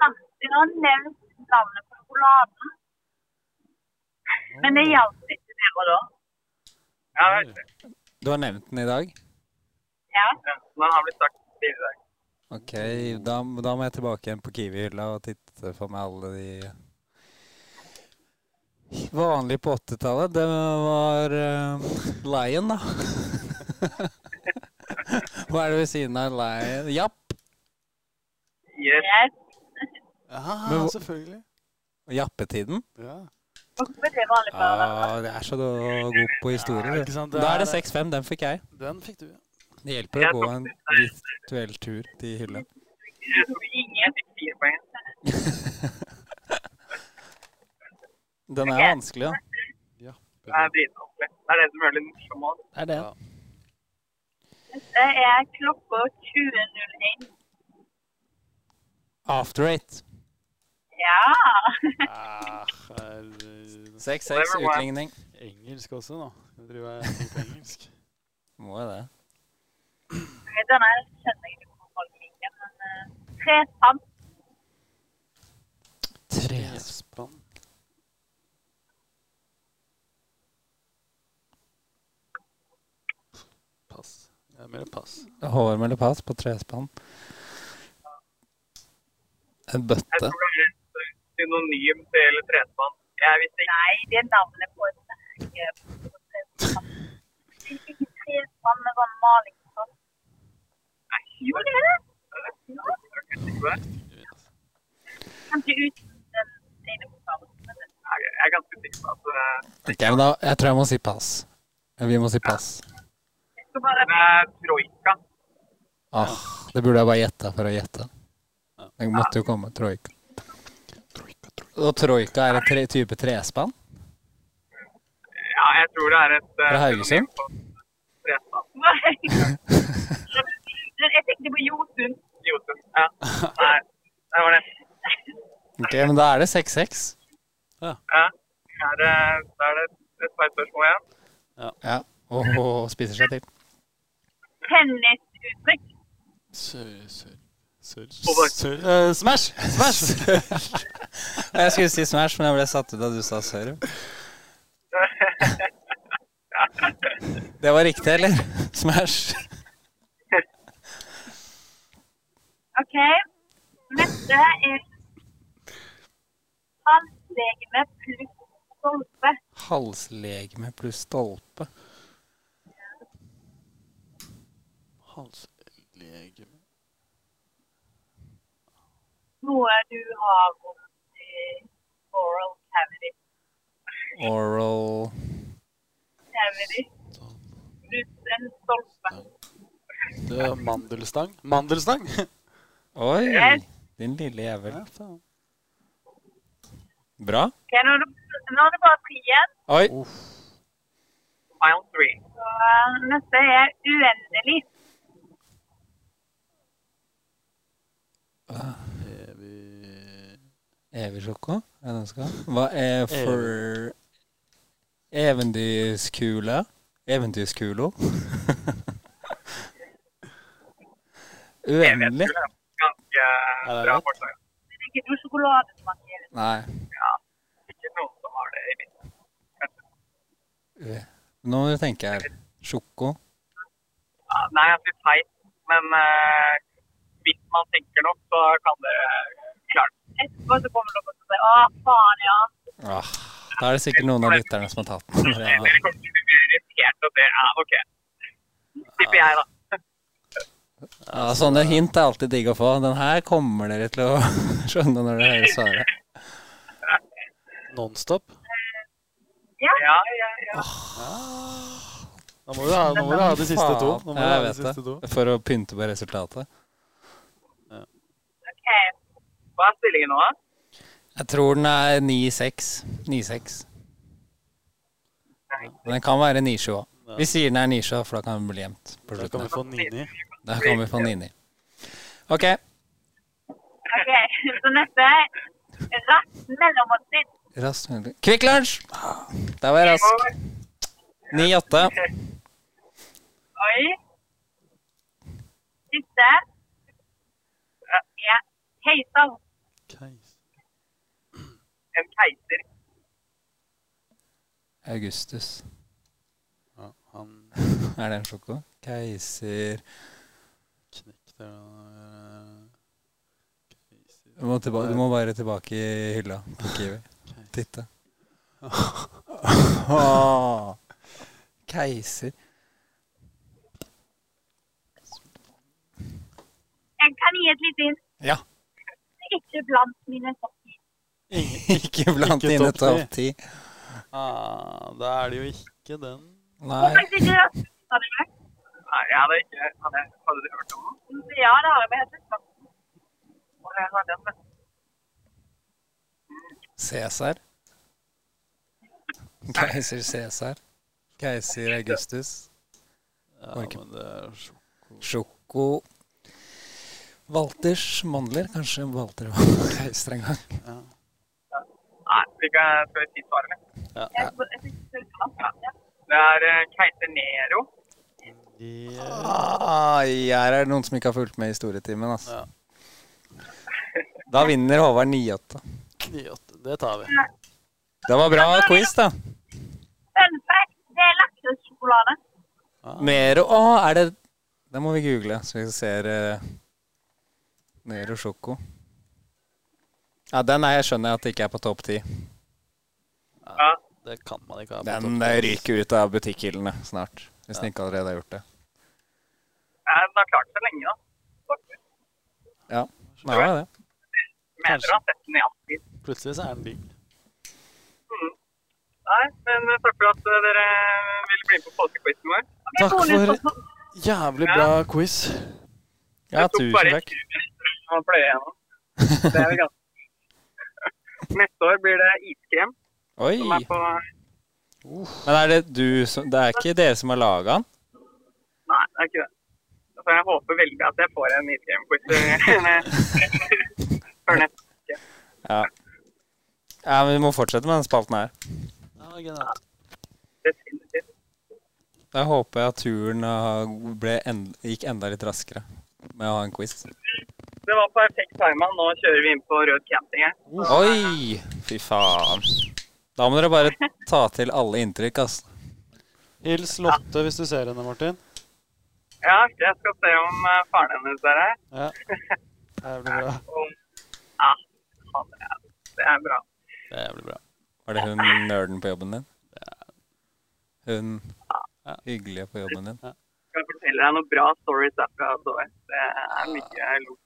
Speaker 9: samtidig har nevnt navnet på noe sjokoladen. Men det hjalp ikke der og da.
Speaker 8: Ja, jeg vet det.
Speaker 3: Du har nevnt den i dag?
Speaker 9: Ja.
Speaker 8: Ja, Den har blitt sagt tidligere i dag.
Speaker 3: Ok, da, da må jeg tilbake igjen på Kiwi-hylla og titte for meg alle de vanlige på 80-tallet. Det var eh, Lion, da. Hva er det ved siden av Lion? Japp.
Speaker 8: Yes.
Speaker 9: Yes.
Speaker 2: Ja,
Speaker 3: Men hva-
Speaker 2: selvfølgelig.
Speaker 3: Jappetiden.
Speaker 2: Ja.
Speaker 9: Hvorfor det vanlig for deg?
Speaker 3: Ah, det er så do- god på historie.
Speaker 2: ikke
Speaker 3: du.
Speaker 2: sant? Det
Speaker 3: Da er
Speaker 2: er-
Speaker 3: det 6-5. Den fikk jeg.
Speaker 2: Den fikk du. ja.
Speaker 3: Det hjelper å gå en virtuell tur til hylla.
Speaker 8: Jeg tok ingen fikk fire poeng.
Speaker 3: Den er vanskelig, da.
Speaker 8: Det er dritvanskelig. Det er det som gjør det morsomt også.
Speaker 3: Det er det.
Speaker 9: Det er klokka 20.01.
Speaker 3: After eight.
Speaker 9: Ja.
Speaker 2: Ah, herre-
Speaker 3: 6-6 utligning.
Speaker 2: engelsk også nå. Jeg driver og tenker på engelsk.
Speaker 3: Må jo det.
Speaker 9: Denne skjønner jeg ikke hvorfor folk liker, men eh, trespann.
Speaker 2: Trespann. Pass. Jeg er mer pass.
Speaker 3: HM eller pass på trespann. En
Speaker 8: Jeg
Speaker 3: bøtte.
Speaker 8: tror det er litt synonym til trespann. Jeg visste ikke
Speaker 9: Nei, det er navnet på en merke. på trespann. Det er ikke trespann med sånn malingspann. Jo, det er det. Ja. Kanskje uten den ene bokstaven. men det-
Speaker 8: Jeg er ganske sikker på at eh,
Speaker 3: Ok, men da, Jeg tror jeg må si pass. Vi må si pass.
Speaker 8: Så bare med troika.
Speaker 3: Ah, det burde jeg bare gjetta for å gjette. Det måtte jo komme troika. Og troika er en tre, type trespann?
Speaker 8: Ja, jeg tror det er et eh,
Speaker 3: Fra Haugesund?
Speaker 8: synonym for trespann.
Speaker 9: Nei. Men Jeg tenkte på Jotun.
Speaker 8: Jotun. Ja. Nei, det var det.
Speaker 3: Ok, men da er det 6-6.
Speaker 8: Ja. Er det, da er det et par spørsmål igjen.
Speaker 3: Ja. Og, og spiser seg til.
Speaker 9: Tennisuttrykk.
Speaker 2: Sør, sør, sør,
Speaker 8: Over.
Speaker 2: sør. Eh, smash! Smash!
Speaker 3: Jeg skulle si Smash, men jeg ble satt ut da du sa serve. Det var riktig, eller? Smash.
Speaker 9: OK. Neste er Halslegeme pluss stolpe.
Speaker 3: Halslegeme pluss stolpe.
Speaker 2: Halslegeme
Speaker 9: Noe du har om eh, oral cavity.
Speaker 3: Oral
Speaker 9: cavity. Pluss en stolpe.
Speaker 2: Det er Mandelstang. Mandelstang!
Speaker 3: Oi!
Speaker 9: Yes.
Speaker 3: Din lille jævel.
Speaker 2: Ja, faen.
Speaker 3: Bra.
Speaker 9: Ok, nå er det, nå er det bare tre igjen.
Speaker 3: Oi!
Speaker 8: Mile three.
Speaker 9: Så eh, neste er uendelig.
Speaker 2: Evig
Speaker 3: Evig sjoko? Er det den skal? Hva er for Eventyrskule? Eventyrskula? Uendelig?
Speaker 8: Ganske eh,
Speaker 2: det er
Speaker 8: bra
Speaker 2: rett.
Speaker 8: forslag.
Speaker 9: Det er ikke noe sjokoladesmak i det.
Speaker 3: Nei.
Speaker 8: Ikke noen som har det i mitt.
Speaker 3: u- Nå må du tenke her. Sjoko.
Speaker 8: Ja, nei, jeg blir feit, men eh, hvis man tenker nok, så kan det klart.
Speaker 9: Etterpå så kommer noen og sier 'Å, faen, ja'.
Speaker 3: Ah, da er det sikkert noen av lytterne som har tatt den.
Speaker 8: Dere kommer til å bli irritert og det. Ja, ok. Tipper jeg, da.
Speaker 3: Ja, sånne hint er alltid digg å få. Den her kommer dere til å skjønne når dere hører svaret.
Speaker 2: Nonstop.
Speaker 8: Ja, ja, ja.
Speaker 2: Nå må du ha, nå må du ha de siste to. Nå må du
Speaker 3: Ja,
Speaker 2: ha
Speaker 3: jeg
Speaker 2: de
Speaker 3: vet
Speaker 2: siste to.
Speaker 3: det. For å pynte på resultatet.
Speaker 9: OK.
Speaker 8: Hva er stillingen nå, da?
Speaker 3: Jeg tror den er 9-6. 9-6. Men den kan være 9-7 òg. Vi sier den er 9-7, for da kan den bli gjemt på
Speaker 2: Da kan
Speaker 3: slutten.
Speaker 2: vi få Nini.
Speaker 3: Da kan vi få 9-9. OK.
Speaker 9: ok. Så neste er raskt mellommåltid.
Speaker 3: Raskt mulig. Kvikk Lunsj! Der var jeg rask. 9-8.
Speaker 9: Oi. Siste er Keiser.
Speaker 2: Keis.
Speaker 8: en keiser.
Speaker 3: Augustus.
Speaker 2: Ja, han
Speaker 3: Er det en sjoko? Keiser
Speaker 2: knekte øh, keiser.
Speaker 3: du må, tilba- du må bare tilbake i hylla på Kiwi. Titte. Åh. Keiser.
Speaker 9: Jeg kan gi et lite inn.
Speaker 3: Ja.
Speaker 9: Ikke blant mine sokker.
Speaker 3: Ikke blant
Speaker 2: Ikke
Speaker 3: dine
Speaker 2: topp
Speaker 3: topp ti.
Speaker 2: Ah, da er det jo ikke den.
Speaker 9: Og
Speaker 3: Nei.
Speaker 9: faktisk ikke det. Har du det?
Speaker 8: Nei, jeg hadde ikke hadde, hadde du hørt om den?
Speaker 9: Ja, det har jeg. Men jeg synes faktisk
Speaker 8: Og jeg har den, men
Speaker 3: Cæsar. Keiser Cæsar. Keiser Augustus.
Speaker 2: Ja,
Speaker 3: Var ikke-
Speaker 2: men det er sjokk.
Speaker 3: Sjoko. Walters mandler. Kanskje Walter var keiser en gang.
Speaker 8: nei, vi kan skal vi si svaret mitt.
Speaker 9: jeg, jeg synes det er blant mine.
Speaker 8: Det er eh, keiser Nero.
Speaker 2: Yeah.
Speaker 3: Ai, her er det noen som ikke har fulgt med i historietimen. Altså.
Speaker 2: Ja.
Speaker 3: Da vinner Håvard 9-8.
Speaker 2: 98. Det tar vi.
Speaker 3: Det var bra quiz, da.
Speaker 9: Fun fact, det er lakriskjokolade.
Speaker 3: Nero Å, er det Det må vi google, så vi ser eh, Nero Sjoko. Ja, den er, jeg skjønner jeg at det ikke er på topp ti.
Speaker 2: Det kan man ikke ha. på
Speaker 3: Den
Speaker 2: toppen.
Speaker 3: eh, ryker ut av butikkhyllene snart. Hvis den ikke allerede har gjort det.
Speaker 8: Ja, Den har klart seg lenge, da. Faktisk.
Speaker 3: Ja, det var det.
Speaker 8: Mener du har sett den i all tid?
Speaker 2: Plutselig så er den digg.
Speaker 8: Nei, men eh, takk for at eh, dere ville bli med på folkequizen vår.
Speaker 9: Jeg
Speaker 3: Takk
Speaker 9: tror det
Speaker 3: for
Speaker 9: står på-
Speaker 2: Jævlig bra quiz.
Speaker 3: Ja,
Speaker 8: Jeg tok
Speaker 3: tusen
Speaker 8: bare
Speaker 3: takk.
Speaker 8: 20 minutter å pløye gjennom. Det er ganske Neste år blir det iskrem
Speaker 3: Oi.
Speaker 8: som er på
Speaker 3: Men er det du som Det er ikke dere som har laga den?
Speaker 8: Nei, det er ikke det. Så jeg håper veldig at jeg får en iskremquiz før neste.
Speaker 3: Ja, men vi må fortsette med den spalten her.
Speaker 2: Ja, genialt.
Speaker 8: Definitivt.
Speaker 3: Da håper jeg at turen eh, ble en, gikk enda litt raskere med å ha en quiz.
Speaker 8: Det var perfekt timet. Nå kjører vi inn på rød camping her.
Speaker 3: Oi! Fy faen. Da må dere bare ta til alle inntrykk, altså.
Speaker 2: Hils Lotte hvis du ser henne, Martin.
Speaker 8: Ja, jeg skal se om eh, faren hennes er her.
Speaker 2: Ja. Jævlig bra.
Speaker 8: Om Ja, han er Det er bra.
Speaker 2: Jævlig bra.
Speaker 3: Var det hun nerden på jobben din? Hun hyggelige på jobben din?
Speaker 8: Skal jeg fortelle deg noen bra stories derfra. Doris? Det er mye lo.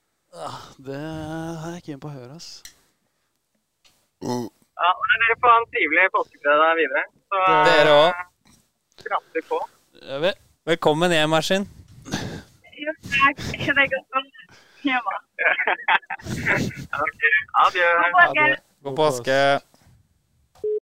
Speaker 2: Ah, Det er jeg keen på å høre, ass.
Speaker 8: Ja, men dere får ha en trivelig påskeferie videre. Så eh,
Speaker 3: Dere òg.
Speaker 8: prater på.
Speaker 2: Jeg vet.
Speaker 3: Velkommen hjem, Maskin.
Speaker 9: Jo, takk. Det er godt å være hjemme.
Speaker 8: Ok, Adjø.
Speaker 9: God påske.
Speaker 2: det-
Speaker 3: God påske.